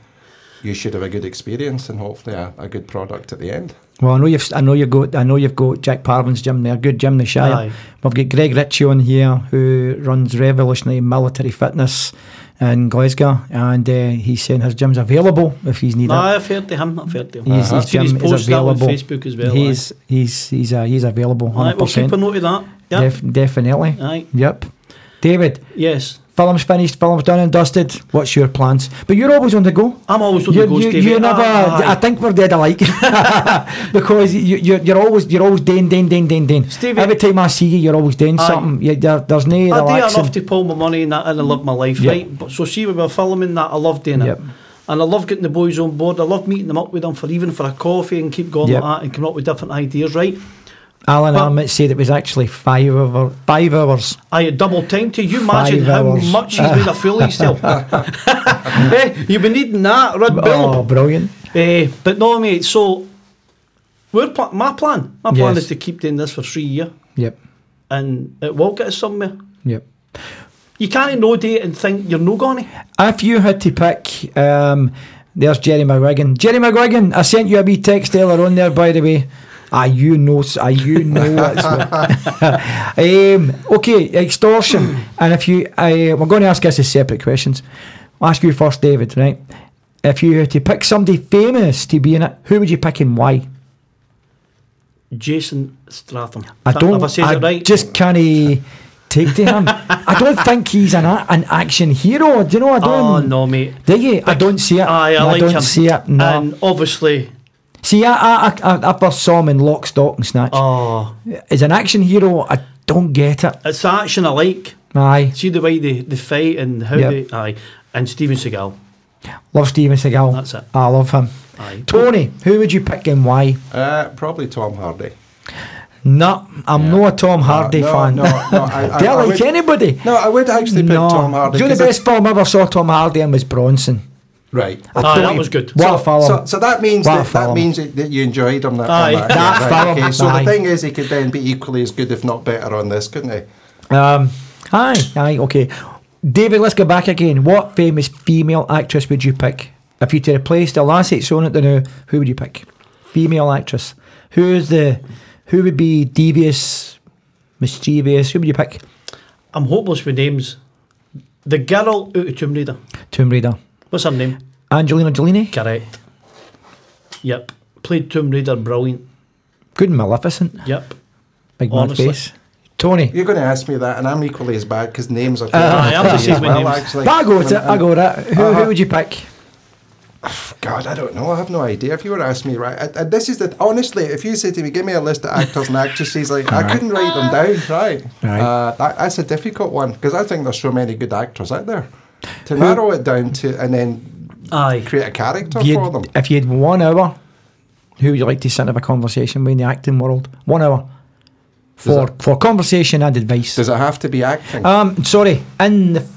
[SPEAKER 1] you should have a good experience and hopefully a, a good product at the end.
[SPEAKER 2] Well, I know you've I know you've got I know you've got Jack Parvin's gym there, good gym in the Shire.
[SPEAKER 3] Aye.
[SPEAKER 2] We've got Greg Ritchie on here who runs Revolutionary Military Fitness in Glasgow, and uh, he's saying his gym's available if he's needed.
[SPEAKER 3] No, I've heard to him. I've heard to him.
[SPEAKER 2] He's,
[SPEAKER 3] I've
[SPEAKER 2] his
[SPEAKER 3] seen
[SPEAKER 2] gym
[SPEAKER 3] Uh-huh.
[SPEAKER 2] is
[SPEAKER 3] his post that on
[SPEAKER 2] available.
[SPEAKER 3] Facebook as well. eh.
[SPEAKER 2] He's he's he's uh, he's available.
[SPEAKER 3] aye. Aye,
[SPEAKER 2] 100%.
[SPEAKER 3] we'll keep a note of that. Yep.
[SPEAKER 2] Def- definitely.
[SPEAKER 3] Aye.
[SPEAKER 2] Yep. David,
[SPEAKER 3] Yes.
[SPEAKER 2] film's finished, film's done and dusted. What's your plans? But you're always on the go.
[SPEAKER 3] I'm always on
[SPEAKER 2] You,
[SPEAKER 3] the go,
[SPEAKER 2] you,
[SPEAKER 3] Stevie. Ah,
[SPEAKER 2] you never.
[SPEAKER 3] Aye.
[SPEAKER 2] I think we're dead alike because you, you're, you're always you're always doing doing doing doing doing.
[SPEAKER 3] Stevie-
[SPEAKER 2] Every time I see you, you're always doing
[SPEAKER 3] Aye.
[SPEAKER 2] something. You, there, there's no
[SPEAKER 3] I do
[SPEAKER 2] relaxing.
[SPEAKER 3] enough er to pull my money and that, and I love my life,
[SPEAKER 2] Yep.
[SPEAKER 3] right? But so see, we were filming that. I love doing
[SPEAKER 2] Yep.
[SPEAKER 3] it, and I love getting the boys on board. I love meeting them up with them for even for a coffee and keep going
[SPEAKER 2] Yep.
[SPEAKER 3] like that and coming up with different ideas, right?
[SPEAKER 2] Alan
[SPEAKER 3] But-
[SPEAKER 2] Armit said it was actually five hour, five hours.
[SPEAKER 3] I had double time to you imagine
[SPEAKER 2] Five
[SPEAKER 3] how
[SPEAKER 2] hours.
[SPEAKER 3] much he's made a fool of himself. Eh, You've been needing that, Red Bull.
[SPEAKER 2] Oh, brilliant!
[SPEAKER 3] Eh, but no, mate. So we're pl- my plan. My plan
[SPEAKER 2] Yes.
[SPEAKER 3] is to keep doing this for three year,
[SPEAKER 2] Yep.
[SPEAKER 3] and it will get us somewhere.
[SPEAKER 2] Yep.
[SPEAKER 3] You can't no date and think you're no going.
[SPEAKER 2] If you had to pick, um, there's Jerry McGuigan. Jerry McGuigan, I sent you a wee text earlier on there, by the way. Ah, you know, s- ah, you know what's what. um, okay, extortion. And if you, I, we're going to ask us as separate questions. I'll ask you first, David, right? If you had to pick somebody famous to be in it, who would you pick and why?
[SPEAKER 3] Jason Stratham.
[SPEAKER 2] I
[SPEAKER 3] Th-
[SPEAKER 2] don't.
[SPEAKER 3] Have I said
[SPEAKER 2] I
[SPEAKER 3] it right?
[SPEAKER 2] just can't eh, take to him. I don't think he's an a- an action hero. Do you know? I
[SPEAKER 3] Oh
[SPEAKER 2] don't.
[SPEAKER 3] no, mate.
[SPEAKER 2] Do you? I don't see it.
[SPEAKER 3] Aye, I, like
[SPEAKER 2] don't
[SPEAKER 3] him.
[SPEAKER 2] see it. No.
[SPEAKER 3] And obviously,
[SPEAKER 2] see, I, I, I, I first saw him in Lock, Stock, and Snatch.
[SPEAKER 3] oh,
[SPEAKER 2] As an action hero, I don't get it.
[SPEAKER 3] it's the action I like.
[SPEAKER 2] Aye,
[SPEAKER 3] See the way they, they fight and how
[SPEAKER 2] Yep.
[SPEAKER 3] they. Aye. And Steven Seagal.
[SPEAKER 2] love Steven Seagal.
[SPEAKER 3] That's it.
[SPEAKER 2] I love him.
[SPEAKER 3] Aye.
[SPEAKER 2] Tony, who would you pick and why?
[SPEAKER 1] Uh, probably Tom Hardy. Uh,
[SPEAKER 2] No, I'm not a Tom Hardy
[SPEAKER 1] no,
[SPEAKER 2] fan.
[SPEAKER 1] No, no, I, I,
[SPEAKER 2] They're
[SPEAKER 1] I
[SPEAKER 2] like
[SPEAKER 1] would,
[SPEAKER 2] anybody.
[SPEAKER 1] No, I would actually pick
[SPEAKER 2] no,
[SPEAKER 1] Tom Hardy.
[SPEAKER 2] Do you know
[SPEAKER 1] 'cause
[SPEAKER 2] the
[SPEAKER 1] I-
[SPEAKER 2] best film I ever saw Tom Hardy in was Bronson.
[SPEAKER 1] right.
[SPEAKER 2] I
[SPEAKER 3] Aye,
[SPEAKER 2] don't
[SPEAKER 3] Ah, that
[SPEAKER 2] even-
[SPEAKER 3] was good.
[SPEAKER 2] What a film.
[SPEAKER 1] So, so that means
[SPEAKER 2] What a
[SPEAKER 1] that, that
[SPEAKER 2] film.
[SPEAKER 1] means that that you enjoyed him. That,
[SPEAKER 3] Aye.
[SPEAKER 1] on that,
[SPEAKER 2] That
[SPEAKER 1] yeah,
[SPEAKER 2] film,
[SPEAKER 1] okay. So
[SPEAKER 2] aye.
[SPEAKER 1] the thing is, he could then be equally as good, if not better, on this, couldn't he?
[SPEAKER 2] Um, aye, aye, okay. David, let's go back again. What famous female actress would you pick? If you to replace the last eight shown at the now, who would you pick? Female actress. Who's the who would be devious, mischievous? Who would you pick?
[SPEAKER 3] I'm hopeless with names. The girl out of Tomb Raider.
[SPEAKER 2] Tomb Raider.
[SPEAKER 3] What's her name?
[SPEAKER 2] Angelina Jolie?
[SPEAKER 3] Correct. Yep. Played Tomb Raider, brilliant.
[SPEAKER 2] Good and Maleficent.
[SPEAKER 3] Yep.
[SPEAKER 2] Big mad
[SPEAKER 3] Honestly.
[SPEAKER 2] face. Tony.
[SPEAKER 1] You're going to ask me that, and I'm equally as bad because names are.
[SPEAKER 3] Uh, Aye, I'm just using my
[SPEAKER 1] Well,
[SPEAKER 3] names.
[SPEAKER 1] actually,
[SPEAKER 2] I go with it. I go with it. Who, who
[SPEAKER 1] Uh-huh.
[SPEAKER 2] would you pick?
[SPEAKER 1] God, I don't know. I have no idea. If you were to ask me, right, I, I- this is the honestly. If you say to me, give me a list of actors and actresses, like I couldn't write them down. Right,
[SPEAKER 2] Right.
[SPEAKER 1] Uh, that, that's a difficult one because I think there's so many good actors out there. To narrow it down to and then
[SPEAKER 3] Aye.
[SPEAKER 1] create a character
[SPEAKER 2] If you
[SPEAKER 1] for them.
[SPEAKER 2] had, if you had one hour, who would you like to sit and have a conversation with in the acting world? One hour for for conversation and advice.
[SPEAKER 1] Does it have to be acting?
[SPEAKER 2] Um, sorry, in the f-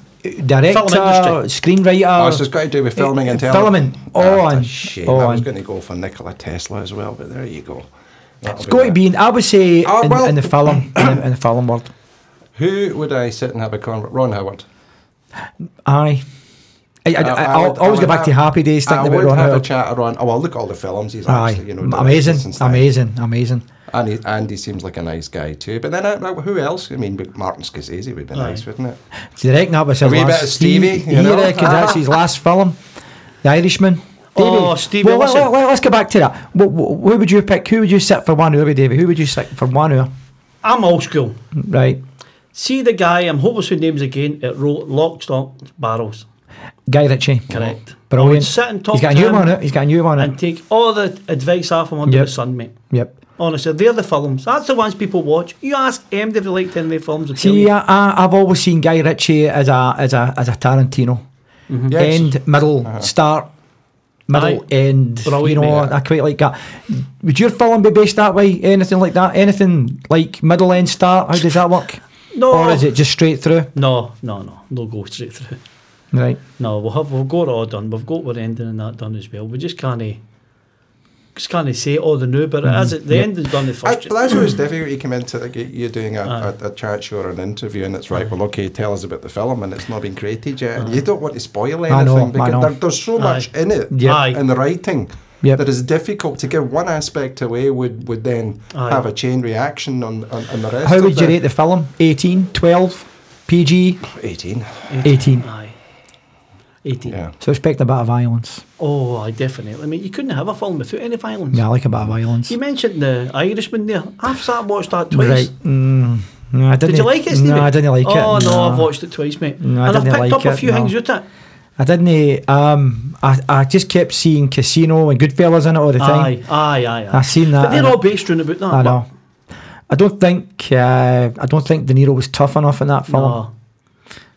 [SPEAKER 2] director,
[SPEAKER 3] industry.
[SPEAKER 2] screenwriter,
[SPEAKER 1] oh, it's just got to do with filming and
[SPEAKER 2] uh,
[SPEAKER 1] television.
[SPEAKER 2] filming. Oh, and-
[SPEAKER 1] shame.
[SPEAKER 2] oh,
[SPEAKER 1] I was
[SPEAKER 2] and-
[SPEAKER 1] going to go for Nikola Tesla as well, but there you go. That'll
[SPEAKER 2] it's got to
[SPEAKER 1] that.
[SPEAKER 2] be. In, I would say
[SPEAKER 1] Oh,
[SPEAKER 2] in,
[SPEAKER 1] well-
[SPEAKER 2] in the film, in, the, in the film world.
[SPEAKER 1] Who would I sit and have a conversation? Ron Howard.
[SPEAKER 2] Aye. I, I,
[SPEAKER 1] Uh,
[SPEAKER 2] I,
[SPEAKER 1] I
[SPEAKER 2] I'll-
[SPEAKER 1] would- I
[SPEAKER 2] always go
[SPEAKER 1] would
[SPEAKER 2] back to
[SPEAKER 1] have-
[SPEAKER 2] happy days
[SPEAKER 1] I
[SPEAKER 2] thinking
[SPEAKER 1] would
[SPEAKER 2] about Ron
[SPEAKER 1] have a
[SPEAKER 2] Howard.
[SPEAKER 1] chat at Ron. Oh, well, look at all the films he's
[SPEAKER 2] Aye,
[SPEAKER 1] actually, you know, done
[SPEAKER 2] amazing,
[SPEAKER 1] since then.
[SPEAKER 2] amazing, amazing.
[SPEAKER 1] And, he, and he seems like a nice guy too. But then uh, like, who else? I mean, but Martin Scorsese would be nice, wouldn't it?
[SPEAKER 2] Do you reckon that was
[SPEAKER 1] A
[SPEAKER 2] his
[SPEAKER 1] wee
[SPEAKER 2] last?
[SPEAKER 1] bit of Stevie,
[SPEAKER 2] he,
[SPEAKER 1] you know?
[SPEAKER 2] he reckon that's his last film, The Irishman.
[SPEAKER 3] Oh, Stevie,
[SPEAKER 2] well, let,
[SPEAKER 3] listen.
[SPEAKER 2] let, let, us go back to that. What, what, who would you pick? Who would you sit for one hour, Davey? Who would you sit for one hour?
[SPEAKER 3] I'm old school.
[SPEAKER 2] Right,
[SPEAKER 3] See the guy, I'm hopeless with names again, it wrote Lock, Stock, Barrels.
[SPEAKER 2] Guy Ritchie.
[SPEAKER 3] Correct. I would
[SPEAKER 2] Brilliant.
[SPEAKER 3] sit and talk
[SPEAKER 2] He's got a
[SPEAKER 3] to
[SPEAKER 2] new
[SPEAKER 3] him
[SPEAKER 2] one out. He's got a new one
[SPEAKER 3] And
[SPEAKER 2] out.
[SPEAKER 3] take all the advice off him under
[SPEAKER 2] Yep.
[SPEAKER 3] the sun, mate.
[SPEAKER 2] Yep.
[SPEAKER 3] Honestly, they're the films. That's the ones people watch. You ask him if they liked any of the films. they'll tell
[SPEAKER 2] See,
[SPEAKER 3] you.
[SPEAKER 2] I, I, I've always seen Guy Ritchie as a as a as a Tarantino.
[SPEAKER 1] Yes. Uh-huh.
[SPEAKER 2] End, middle, start, middle,
[SPEAKER 3] Aye.
[SPEAKER 2] end. You
[SPEAKER 3] Brilliant,
[SPEAKER 2] know,
[SPEAKER 1] mate.
[SPEAKER 2] I quite like that. Would your film be based that way? Anything like that? Anything like middle, end, start? How does that work?
[SPEAKER 3] No.
[SPEAKER 2] Or is it just straight through?
[SPEAKER 3] No, no, no. No go straight through.
[SPEAKER 2] Right.
[SPEAKER 3] No, we'll have we'll go it all done. We've got we're ending and that done as well. We just can't just can't say all the new, but
[SPEAKER 2] Mm-hmm.
[SPEAKER 3] as it, the ending's done the
[SPEAKER 1] I,
[SPEAKER 3] first.
[SPEAKER 1] but that's always difficult. You come into like, you- you're doing a, a, a chat show or an interview, and it's right. Well, okay, tell us about the film, and it's not been created yet. And you don't want to spoil anything
[SPEAKER 2] I know, I
[SPEAKER 1] because
[SPEAKER 2] know.
[SPEAKER 1] There, there's so much in it,
[SPEAKER 2] Yep.
[SPEAKER 3] Aye.
[SPEAKER 1] in the writing.
[SPEAKER 2] Yep.
[SPEAKER 1] That is difficult to give one aspect away would, would then
[SPEAKER 3] Aye.
[SPEAKER 1] have a chain reaction on, on, on the rest
[SPEAKER 2] How
[SPEAKER 1] of
[SPEAKER 2] would
[SPEAKER 1] the,
[SPEAKER 2] you rate the film? 18, 12, PG,
[SPEAKER 1] 18
[SPEAKER 2] 18.
[SPEAKER 3] Aye. 18.
[SPEAKER 1] yeah
[SPEAKER 2] So expect a bit of violence.
[SPEAKER 3] Oh, I definitely. I mean, you couldn't have a film without any violence.
[SPEAKER 2] Yeah, I like a bit of violence.
[SPEAKER 3] You mentioned the Irishman there. I've sat and watched that twice.
[SPEAKER 2] Right. Mm, no, I didn't.
[SPEAKER 3] Did you like it, Stevie?
[SPEAKER 2] No, I didn't like it.
[SPEAKER 3] Oh, no,
[SPEAKER 2] no.
[SPEAKER 3] I've watched it twice, mate.
[SPEAKER 2] No, I
[SPEAKER 3] and I've
[SPEAKER 2] didn't
[SPEAKER 3] picked
[SPEAKER 2] like
[SPEAKER 3] up a
[SPEAKER 2] it,
[SPEAKER 3] few
[SPEAKER 2] no.
[SPEAKER 3] things out of it.
[SPEAKER 2] I didn't. Um, I, I just kept seeing Casino and Goodfellas in it all the time.
[SPEAKER 3] Aye, aye, aye. aye.
[SPEAKER 2] I seen that.
[SPEAKER 3] But they're
[SPEAKER 2] and
[SPEAKER 3] all based around about that.
[SPEAKER 2] I know. I don't think. Uh, I don't think De Niro was tough enough in that
[SPEAKER 3] But,
[SPEAKER 2] film.
[SPEAKER 3] no.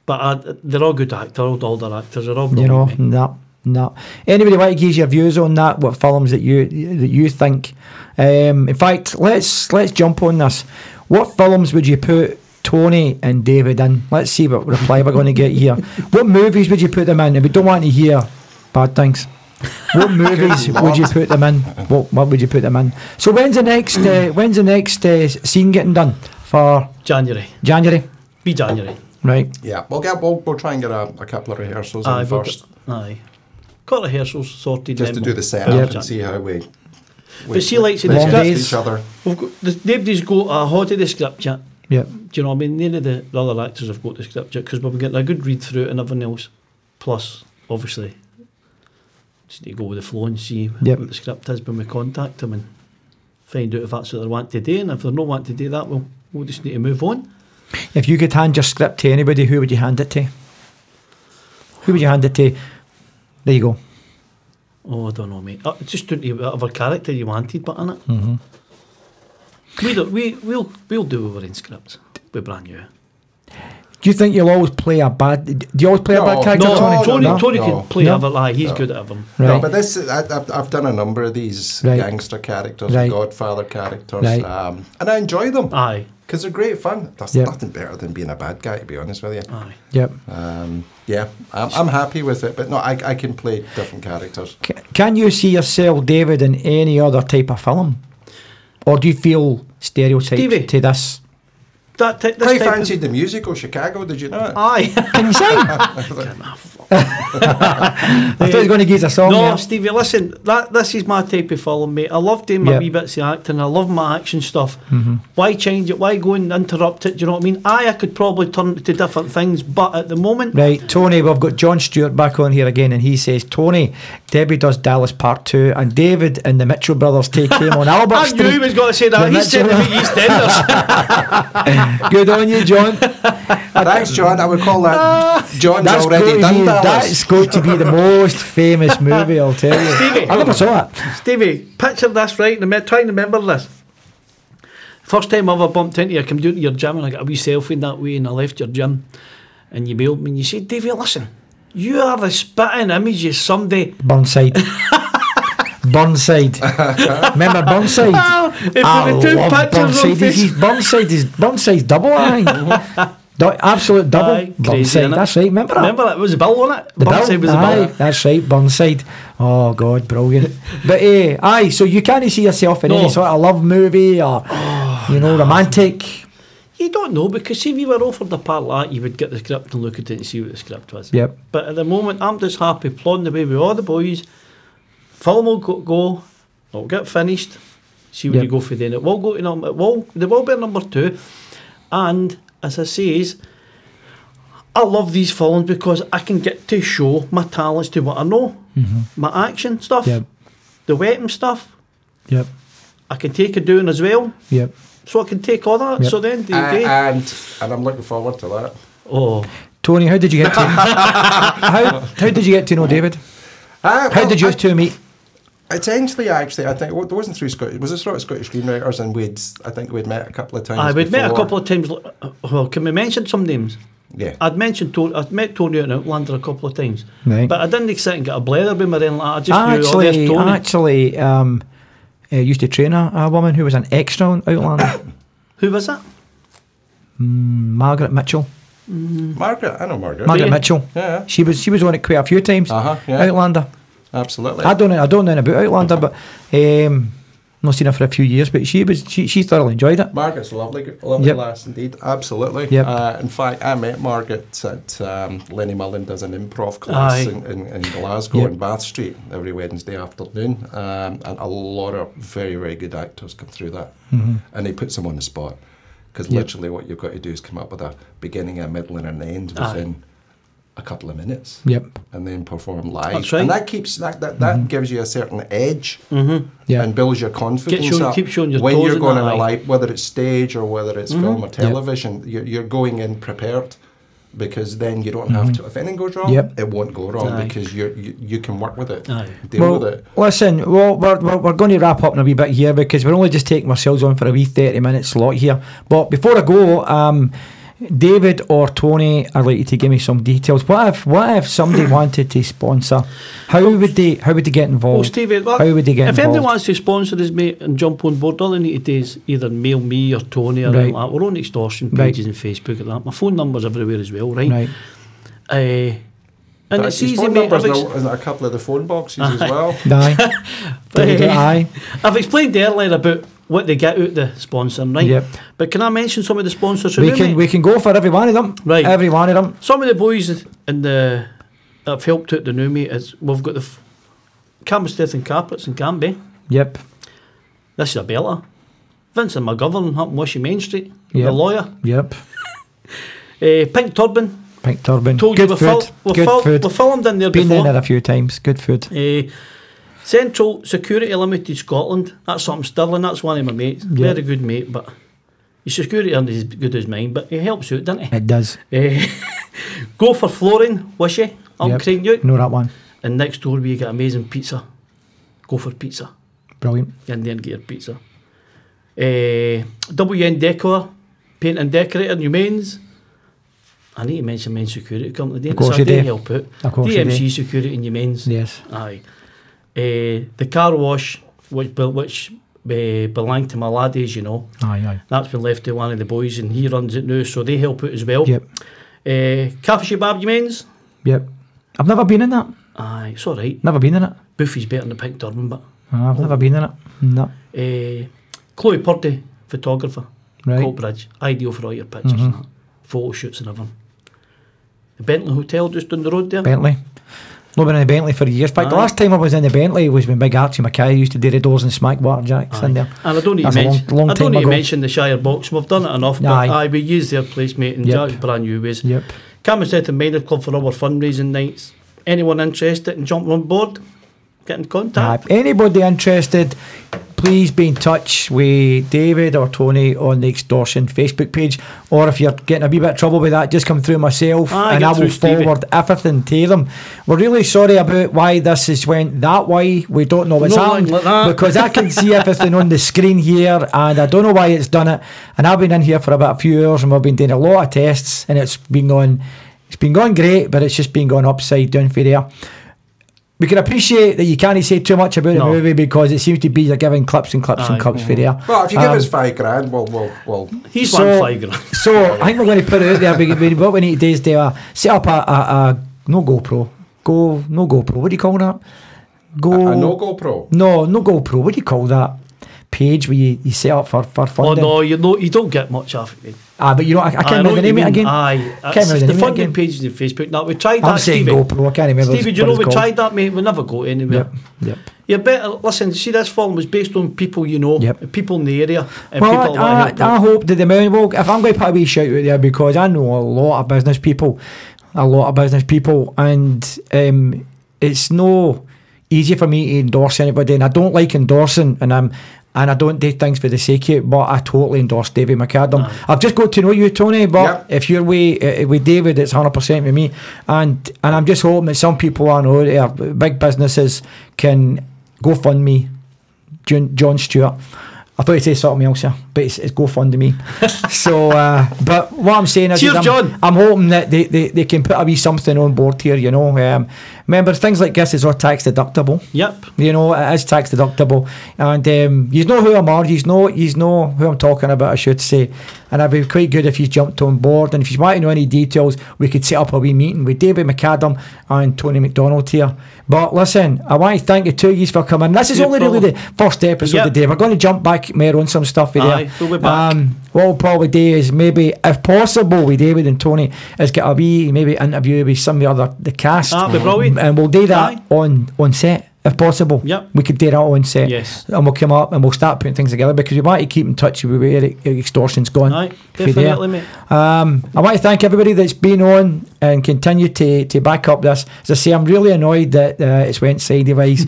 [SPEAKER 3] But uh, they're all good actors, all, all their actors. They're all
[SPEAKER 2] you know,
[SPEAKER 3] brilliant, mate.
[SPEAKER 2] no, no. Anybody want to give your views on that? What films that you that you think? Um, in fact, let's let's jump on this. What films would you put Tony and David in? Let's see what reply we're going to get here. What movies would you put them in? And we don't want to hear bad things. what movies would you put them in? What, what would you put them in? So when's the next uh, when's the next uh, scene getting done for
[SPEAKER 3] January.
[SPEAKER 2] January?
[SPEAKER 3] Be January.
[SPEAKER 2] Right.
[SPEAKER 1] Yeah, we'll get we'll, we'll try and get a, a couple of rehearsals
[SPEAKER 3] Aye,
[SPEAKER 1] on
[SPEAKER 3] we'll
[SPEAKER 1] first,
[SPEAKER 3] get- Uh, aye. Got rehearsals sorted.
[SPEAKER 1] just
[SPEAKER 3] then
[SPEAKER 1] to
[SPEAKER 3] we'll-
[SPEAKER 1] do the setup
[SPEAKER 2] Yeah.
[SPEAKER 1] and see how we.
[SPEAKER 3] But see, like, see,
[SPEAKER 2] the
[SPEAKER 1] digest
[SPEAKER 2] scripts-
[SPEAKER 1] each other.
[SPEAKER 3] We've got, the, nobody's got a hold of the script yet.
[SPEAKER 2] Yeah.
[SPEAKER 3] Do you know what I mean? None of the, the other actors have got the script yet because we've been getting a good read through it and everything else. Plus, obviously, just need to go with the flow and see
[SPEAKER 2] Yep.
[SPEAKER 3] what the script is when we contact them and find out if that's what they want to do. And if they're not wanting to do that, we'll, we'll just need to move on.
[SPEAKER 2] If you could hand your script to anybody, who would you hand it to? Who would you hand it to? There you go.
[SPEAKER 3] Oh, I don't know, mate. Uh, just don't know whatever character you wanted, but in it.
[SPEAKER 2] Mhm.
[SPEAKER 3] We do, we, we'll, we'll do what we're in script. We're brand new.
[SPEAKER 2] Do you think you'll always play a bad? Do you always play a bad
[SPEAKER 1] No.
[SPEAKER 2] character,
[SPEAKER 3] No,
[SPEAKER 2] Tony?
[SPEAKER 3] Tony, Tony,
[SPEAKER 1] no,
[SPEAKER 3] can
[SPEAKER 1] no.
[SPEAKER 3] play
[SPEAKER 2] No.
[SPEAKER 3] no. Aye, he's
[SPEAKER 1] No.
[SPEAKER 3] good at Avon.
[SPEAKER 1] No,
[SPEAKER 2] Right.
[SPEAKER 1] but this I, I've, I've done a number of these
[SPEAKER 2] Right.
[SPEAKER 1] gangster characters,
[SPEAKER 2] Right.
[SPEAKER 1] Godfather characters,
[SPEAKER 2] Right.
[SPEAKER 1] um, and I enjoy them
[SPEAKER 3] Aye,
[SPEAKER 1] because they're great fun. There's
[SPEAKER 2] Yep.
[SPEAKER 1] nothing better than being a bad guy, to be honest with you.
[SPEAKER 3] aye.
[SPEAKER 2] Yep.
[SPEAKER 1] Um, yeah, I'm, I'm happy with it, but no, I, I can play different characters.
[SPEAKER 2] C- Can you see yourself, David, in any other type of film, or do you feel stereotyped
[SPEAKER 3] Stevie.
[SPEAKER 2] to this?
[SPEAKER 3] That t- this
[SPEAKER 1] I
[SPEAKER 3] type of- Ah.
[SPEAKER 1] fancied the musical Chicago. Did you know it?
[SPEAKER 3] Aye.
[SPEAKER 2] Can you sing? I thought you were going to give us a song.
[SPEAKER 3] no,
[SPEAKER 2] there.
[SPEAKER 3] Stevie, listen, that this is my type of film, mate. I love doing my
[SPEAKER 2] Yep.
[SPEAKER 3] wee bits of acting. I love my action stuff. Why change it? Why go and interrupt it? Do you know what I mean? Aye, I could probably turn it to different things, but at the moment,
[SPEAKER 2] Right, Tony, we've got John Stewart back on here again, and he says, Tony, Debbie does Dallas Part 2, and David and the Mitchell brothers take him on Albert
[SPEAKER 3] I knew
[SPEAKER 2] Street.
[SPEAKER 3] he was going to say that.
[SPEAKER 2] The
[SPEAKER 3] He's saying
[SPEAKER 2] Mitchell-
[SPEAKER 3] about EastEnders.
[SPEAKER 2] Good on you, John.
[SPEAKER 1] Thanks, John. I would call that John's
[SPEAKER 2] That's
[SPEAKER 1] already
[SPEAKER 2] going, to
[SPEAKER 1] done
[SPEAKER 2] be,
[SPEAKER 1] Dallas.
[SPEAKER 2] that's going to be the most famous movie, I'll tell you.
[SPEAKER 3] Stevie.
[SPEAKER 2] I never saw it.
[SPEAKER 3] Stevie, picture this, right? And I'm trying to remember this. First time I ever bumped into you, I come down to your gym and I got a wee selfie in that way and I left your gym and you mailed me and you said, Davey, listen, you are the spitting image of somebody.
[SPEAKER 2] Burnside. Burnside. Remember Burnside?
[SPEAKER 3] Ah, if there
[SPEAKER 2] I
[SPEAKER 3] were two
[SPEAKER 2] love
[SPEAKER 3] pictures on
[SPEAKER 2] Burnside. He's- he's- Burnside is Burnside's double, I think. Du- absolute double.
[SPEAKER 3] Aye, crazy,
[SPEAKER 2] Burnside,
[SPEAKER 3] innit?
[SPEAKER 2] that's right. Remember that?
[SPEAKER 3] Remember that? It was a bill, wasn't it?
[SPEAKER 2] The bill,
[SPEAKER 3] Burnside was a
[SPEAKER 2] aye,
[SPEAKER 3] bill.
[SPEAKER 2] that's right, Burnside. Oh God, brilliant. but eh, aye, so you can't see yourself in
[SPEAKER 3] No. Oh,
[SPEAKER 2] any sort of love movie or you know romantic.
[SPEAKER 3] You don't know because see, if you were offered a part like that, you would get the script and look at it and see what the script was.
[SPEAKER 2] Yep.
[SPEAKER 3] But at the moment, I'm just happy plodding away with all the boys. Film will go, go it'll get finished. See where
[SPEAKER 2] Yep.
[SPEAKER 3] you go for then. It will go to number. It will. There will be a number two. And as I says, I love these films because I can get to show my talents to what I know, my action stuff,
[SPEAKER 2] Yep,
[SPEAKER 3] the weapon stuff.
[SPEAKER 2] yep,
[SPEAKER 3] I can take a doing as well,
[SPEAKER 2] yep.
[SPEAKER 3] so I can take all that.
[SPEAKER 2] Yep.
[SPEAKER 3] So then, the
[SPEAKER 1] Uh,
[SPEAKER 3] day,
[SPEAKER 1] and and I'm looking forward to that.
[SPEAKER 3] oh.
[SPEAKER 2] Tony, how did you get to how how did you get to know David?
[SPEAKER 1] Uh,
[SPEAKER 2] How
[SPEAKER 1] well,
[SPEAKER 2] did you
[SPEAKER 1] I-
[SPEAKER 2] two meet?
[SPEAKER 1] Essentially, actually, I think it wasn't through Scottish. Was it sort of Scottish screenwriters? And we'd, I think we'd met a couple of times.
[SPEAKER 3] I would Ah, met a
[SPEAKER 1] before.
[SPEAKER 3] couple of times. l- uh, Well, can we mention some names?
[SPEAKER 1] Yeah.
[SPEAKER 2] Um,
[SPEAKER 3] I'd mentioned Tony. I'd met Tony at Outlander a couple of times,
[SPEAKER 2] Right.
[SPEAKER 3] but I didn't sit and get a blether with my then. Like, I just knew oh,
[SPEAKER 2] actually,
[SPEAKER 3] there's Tony.
[SPEAKER 2] actually, um, I used to train a, a woman who was an extra on Outlander,
[SPEAKER 3] Who was that?
[SPEAKER 2] Margaret Mitchell.
[SPEAKER 1] Margaret, I know Margaret.
[SPEAKER 2] Margaret
[SPEAKER 3] Yeah.
[SPEAKER 2] Mitchell.
[SPEAKER 1] Yeah.
[SPEAKER 2] She was she was on it quite a few times.
[SPEAKER 1] Uh-huh, yeah.
[SPEAKER 2] Outlander.
[SPEAKER 1] Absolutely.
[SPEAKER 2] I don't know. I don't know about Outlander, but um, not seen her for a few years. But she was she, she thoroughly enjoyed it.
[SPEAKER 1] Margaret's a lovely, g- lovely
[SPEAKER 2] Yep.
[SPEAKER 1] lass indeed. Absolutely.
[SPEAKER 2] Yep.
[SPEAKER 1] Uh, in fact, I met Margaret at um, Lenny Mullen does an improv
[SPEAKER 3] Aye.
[SPEAKER 1] class in, in, in Glasgow
[SPEAKER 2] Yep.
[SPEAKER 1] in Bath Street every Wednesday afternoon, um, and a lot of very, very good actors come through that,
[SPEAKER 3] Mm-hmm.
[SPEAKER 1] and he puts them on the spot because literally what you've got to do is come up with a beginning, a middle, and an end
[SPEAKER 3] Aye.
[SPEAKER 1] within a couple of minutes.
[SPEAKER 2] Yep.
[SPEAKER 1] And then perform live,
[SPEAKER 3] That's right.
[SPEAKER 1] and
[SPEAKER 3] Mm-hmm.
[SPEAKER 1] that keeps that that, that gives you a certain edge,
[SPEAKER 2] Yeah.
[SPEAKER 1] and builds your confidence
[SPEAKER 3] showing-
[SPEAKER 1] up
[SPEAKER 3] keep showing your
[SPEAKER 1] when
[SPEAKER 3] toes
[SPEAKER 1] you're
[SPEAKER 3] in
[SPEAKER 1] going
[SPEAKER 3] that
[SPEAKER 1] on a
[SPEAKER 3] eye.
[SPEAKER 1] live, whether it's stage or whether it's
[SPEAKER 2] Mm-hmm.
[SPEAKER 1] film or television. You're, you're going in prepared because then you don't have to. If anything goes wrong,
[SPEAKER 2] Mm-hmm. Yep.
[SPEAKER 1] it won't go wrong
[SPEAKER 3] Aye.
[SPEAKER 1] because you're, you you can work with it,
[SPEAKER 3] Aye.
[SPEAKER 1] deal
[SPEAKER 2] Well,
[SPEAKER 1] with it.
[SPEAKER 2] listen, well, we're, we're, we're going to wrap up in a wee bit here because we're only just taking ourselves on for a wee 30 minute slot here. But before I go, um, David or Tony, I'd like you to give me some details. What if what if somebody wanted to sponsor? How would they how would they get
[SPEAKER 3] Oh,
[SPEAKER 2] involved?
[SPEAKER 3] Stevie. Well,
[SPEAKER 2] how would they get
[SPEAKER 3] if
[SPEAKER 2] involved?
[SPEAKER 3] anyone wants to sponsor us, mate, and jump on board, all they need to do is either mail me or Tony or
[SPEAKER 2] Right.
[SPEAKER 3] anything like that. We're on extortion
[SPEAKER 2] Right.
[SPEAKER 3] pages and Facebook and that. My phone number's everywhere as well, right?
[SPEAKER 2] right.
[SPEAKER 3] Uh, And
[SPEAKER 1] But
[SPEAKER 3] it's
[SPEAKER 1] his
[SPEAKER 3] easy,
[SPEAKER 1] phone
[SPEAKER 3] mate.
[SPEAKER 1] number's
[SPEAKER 3] I've,
[SPEAKER 1] in
[SPEAKER 3] ex-
[SPEAKER 1] a- in a couple of the phone boxes as well.
[SPEAKER 2] Aye. Did you do- Aye.
[SPEAKER 3] I've explained earlier about what they get out the sponsoring, right?
[SPEAKER 2] Yep.
[SPEAKER 3] But can I mention some of the sponsors? who
[SPEAKER 2] We
[SPEAKER 3] do,
[SPEAKER 2] can
[SPEAKER 3] mate?
[SPEAKER 2] we can go for every one of them.
[SPEAKER 3] Right.
[SPEAKER 2] Every one of them.
[SPEAKER 3] Some of the boys in the that have helped out the new mate is we've got the f- Cambersteth and Carpets in Canby.
[SPEAKER 2] Yep.
[SPEAKER 3] This is a belter. Vincent McGovern up in Washington Main Street,
[SPEAKER 2] Yeah.
[SPEAKER 3] the lawyer.
[SPEAKER 2] Yep.
[SPEAKER 3] Eh, Pink Turban,
[SPEAKER 2] Pink turban.
[SPEAKER 3] told
[SPEAKER 2] Good
[SPEAKER 3] you we
[SPEAKER 2] food.
[SPEAKER 3] fil- we
[SPEAKER 2] Good
[SPEAKER 3] fil-
[SPEAKER 2] food.
[SPEAKER 3] we filmed in there
[SPEAKER 2] Been
[SPEAKER 3] before.
[SPEAKER 2] there a few times. Good food.
[SPEAKER 3] Eh, Central Security Limited Scotland. That's something Sterling. That's one of my mates.
[SPEAKER 2] Yeah.
[SPEAKER 3] Very good mate, but his security isn't as good as mine. But he helps out, doesn't he?
[SPEAKER 2] It does.
[SPEAKER 3] Eh, go for flooring, wishy. I'm
[SPEAKER 2] Yep.
[SPEAKER 3] crying out.
[SPEAKER 2] Know that one.
[SPEAKER 3] And next door we get amazing pizza. Go for pizza.
[SPEAKER 2] Brilliant.
[SPEAKER 3] Get in there and get your pizza. Eh, WN Decor, paint and decorator, New Mains. I need to mention Main Security Company. Of
[SPEAKER 2] course you
[SPEAKER 3] so I do
[SPEAKER 2] do.
[SPEAKER 3] help out.
[SPEAKER 2] Of course you do.
[SPEAKER 3] DMC Security and New Mains.
[SPEAKER 2] Yes.
[SPEAKER 3] Aye. Eh, the car wash, which bel- which eh, belonged to my lad, as you know,
[SPEAKER 2] Aye. Aye.
[SPEAKER 3] that's been left to one of the boys, and he runs it now, so they help out as well.
[SPEAKER 2] Yep.
[SPEAKER 3] Eh, Cafe Shabab, you means?
[SPEAKER 2] Yep. I've never been in that.
[SPEAKER 3] Aye, it's all right.
[SPEAKER 2] Never been in it.
[SPEAKER 3] Buffy's better than the Pink Turban, but
[SPEAKER 2] I've never been in it. No.
[SPEAKER 3] eh, Chloe Purdy, photographer,
[SPEAKER 2] Right. Mm-hmm.
[SPEAKER 3] Coatbridge, ideal for all your pictures and that, photo shoots and everything. The Bentley Hotel just down the road there.
[SPEAKER 2] Bentley. Not been in the Bentley for years. In fact, the
[SPEAKER 3] Aye.
[SPEAKER 2] last time I was in the Bentley was when Big Archie Mackay used to do the doors and smack water jacks in there.
[SPEAKER 3] And I don't need to
[SPEAKER 2] That's a long-
[SPEAKER 3] mention.
[SPEAKER 2] long
[SPEAKER 3] I
[SPEAKER 2] time
[SPEAKER 3] don't need to
[SPEAKER 2] ago.
[SPEAKER 3] mention the Shire box. We've done it enough. But
[SPEAKER 2] Aye.
[SPEAKER 3] aye. we use their place, mate, and
[SPEAKER 2] Yep.
[SPEAKER 3] that's brand new ways.
[SPEAKER 2] Yep.
[SPEAKER 3] Camerset and Minor Club for our fundraising nights. Anyone interested in jumping on board, get in contact.
[SPEAKER 2] Aye. Anybody interested, please be in touch with David or Tony on the Extortion Facebook page. Or if you're getting a wee bit of trouble with that, just come through myself
[SPEAKER 3] Aye,
[SPEAKER 2] and
[SPEAKER 3] get
[SPEAKER 2] I will
[SPEAKER 3] through Stevie.
[SPEAKER 2] forward everything to them. We're really sorry about why this has went that way. We don't know what's
[SPEAKER 3] No one
[SPEAKER 2] happened
[SPEAKER 3] like that.
[SPEAKER 2] because I can see everything on the screen here and I don't know why it's done it. And I've been in here for about a few hours and we've been doing a lot of tests and it's been going it's been going great, but it's just been going upside down for there. We can appreciate that you can't say too much about
[SPEAKER 3] No.
[SPEAKER 2] the movie because it seems to be you're giving clips and clips
[SPEAKER 3] Aye. Mm-hmm.
[SPEAKER 2] and clips for there.
[SPEAKER 1] Well, if you give
[SPEAKER 2] Um,
[SPEAKER 1] us five grand, we'll, we'll, we'll
[SPEAKER 3] He's
[SPEAKER 2] so-
[SPEAKER 3] one five grand.
[SPEAKER 2] so I think we're going to put it out there. We, we, what we need to do is do a, set up a, a, a no GoPro, go no GoPro. What do you call that? Go
[SPEAKER 1] a no GoPro.
[SPEAKER 2] no no GoPro. What do you call that page where you, you set up for for
[SPEAKER 3] Oh
[SPEAKER 2] funding?
[SPEAKER 3] no, you know you don't get much off it. mate.
[SPEAKER 2] Ah, but you know I, I can't
[SPEAKER 3] Aye,
[SPEAKER 2] remember
[SPEAKER 3] know
[SPEAKER 2] the
[SPEAKER 3] what
[SPEAKER 2] name
[SPEAKER 3] you
[SPEAKER 2] of it
[SPEAKER 3] mean.
[SPEAKER 2] again.
[SPEAKER 3] Aye,
[SPEAKER 2] can't remember
[SPEAKER 3] it's
[SPEAKER 2] the
[SPEAKER 3] the
[SPEAKER 2] name again.
[SPEAKER 3] funding pages on Facebook. Now we tried
[SPEAKER 2] I'm
[SPEAKER 3] that,
[SPEAKER 2] saying
[SPEAKER 3] Stevie.
[SPEAKER 2] GoPro. I can't remember.
[SPEAKER 3] Stevie,
[SPEAKER 2] what
[SPEAKER 3] do you know
[SPEAKER 2] it's
[SPEAKER 3] we
[SPEAKER 2] called.
[SPEAKER 3] tried that, mate. We never go anywhere.
[SPEAKER 2] Yep, yep.
[SPEAKER 3] You better listen. See, this film was based on people you know,
[SPEAKER 2] Yep.
[SPEAKER 3] people in the area, and
[SPEAKER 2] Well,
[SPEAKER 3] people.
[SPEAKER 2] I,
[SPEAKER 3] that
[SPEAKER 2] I, I
[SPEAKER 3] help
[SPEAKER 2] hope that the Mountain Walk, if I'm going to put a wee shout out there, because I know a lot of business people, a lot of business people, and um, it's no easy for me to endorse anybody, and I don't like endorsing, and I'm. And I don't do things for the sake of it, but I totally endorse David McAdam. I've just got to know you, Tony, but
[SPEAKER 1] Yep.
[SPEAKER 2] if you're with, uh, with David, it's 100% with me. And and I'm just hoping that some people I know that are big businesses can go fund me John, John Stewart. I thought he'd say something else, yeah, but it's, it's GoFundMe. so, uh, but what I'm saying is,
[SPEAKER 3] Cheers,
[SPEAKER 2] I'm,
[SPEAKER 3] John.
[SPEAKER 2] I'm hoping that they, they, they can put a wee something on board here, you know. Um, remember, things like this is all tax deductible.
[SPEAKER 3] Yep.
[SPEAKER 2] You know, it is tax deductible. And um, you know who I'm on, you know, you know who I'm talking about, I should say. And I'd be quite good if you jumped on board. And if you want to know any details, we could set up a wee meeting with David McAdam and Tony McDonald here. But listen, I want to thank you two of yous for coming. This is
[SPEAKER 3] No
[SPEAKER 2] only really
[SPEAKER 3] problem.
[SPEAKER 2] the first episode
[SPEAKER 3] Yep.
[SPEAKER 2] of the day. We're going to jump back more on some stuff with
[SPEAKER 3] Aye,
[SPEAKER 2] there.
[SPEAKER 3] we'll be back.
[SPEAKER 2] Um, what we'll probably do is maybe, if possible, with David and Tony, is get a wee maybe interview with some of the other the cast.
[SPEAKER 3] That'd be brilliant.
[SPEAKER 2] And we'll do that
[SPEAKER 3] Aye.
[SPEAKER 2] on on set if possible.
[SPEAKER 3] Yep.
[SPEAKER 2] We could do that on set.
[SPEAKER 3] Yes.
[SPEAKER 2] And we'll come up and we'll start putting things together because we want to keep in touch with where e- extortion's gone.
[SPEAKER 3] Aye,
[SPEAKER 2] If you're there.
[SPEAKER 3] definitely, mate.
[SPEAKER 2] Um, I want to thank everybody that's been on and continue to, to back up this. As I say, I'm really annoyed that uh, it's went sideways.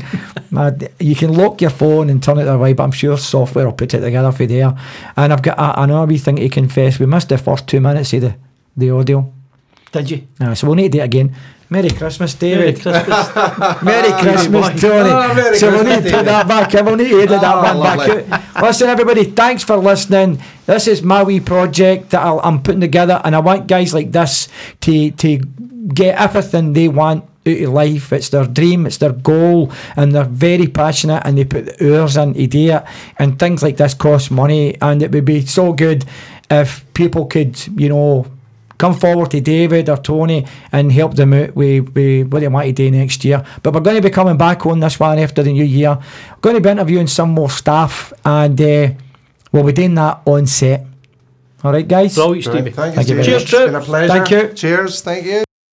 [SPEAKER 2] Uh, d- you can lock your phone and turn it away, but I'm sure software will put it together for there. And I've got a, another wee thing to confess. We missed the first two minutes of the, the audio.
[SPEAKER 3] Did you?
[SPEAKER 2] Uh, so we'll need to do it again. Merry Christmas,
[SPEAKER 3] Merry
[SPEAKER 2] David.
[SPEAKER 3] Christmas.
[SPEAKER 2] Merry Christmas,
[SPEAKER 3] boy.
[SPEAKER 2] Tony.
[SPEAKER 1] Ah, Merry
[SPEAKER 2] so we
[SPEAKER 1] Christmas,
[SPEAKER 2] need to put
[SPEAKER 1] David.
[SPEAKER 2] that back in. We need to edit that
[SPEAKER 1] Ah,
[SPEAKER 2] one
[SPEAKER 1] lovely.
[SPEAKER 2] back out. Listen, everybody, thanks for listening. This is my wee project that I'll, I'm putting together, and I want guys like this to to get everything they want out of life. It's their dream, it's their goal, and they're very passionate, and they put the hours in to do it. And things like this cost money, and it would be so good if people could, you know come forward to David or Tony and help them out with, with what they want to do next year. But we're going to be coming back on this one after the new year. We're going to be interviewing some more staff and uh, we'll be doing that on set. All right, guys?
[SPEAKER 3] Brilliant, Stevie.
[SPEAKER 1] Right, thank you,
[SPEAKER 2] Thank you
[SPEAKER 1] Stephen.
[SPEAKER 2] very
[SPEAKER 3] much.
[SPEAKER 1] It's been a pleasure.
[SPEAKER 2] Thank you.
[SPEAKER 1] Cheers. Thank you.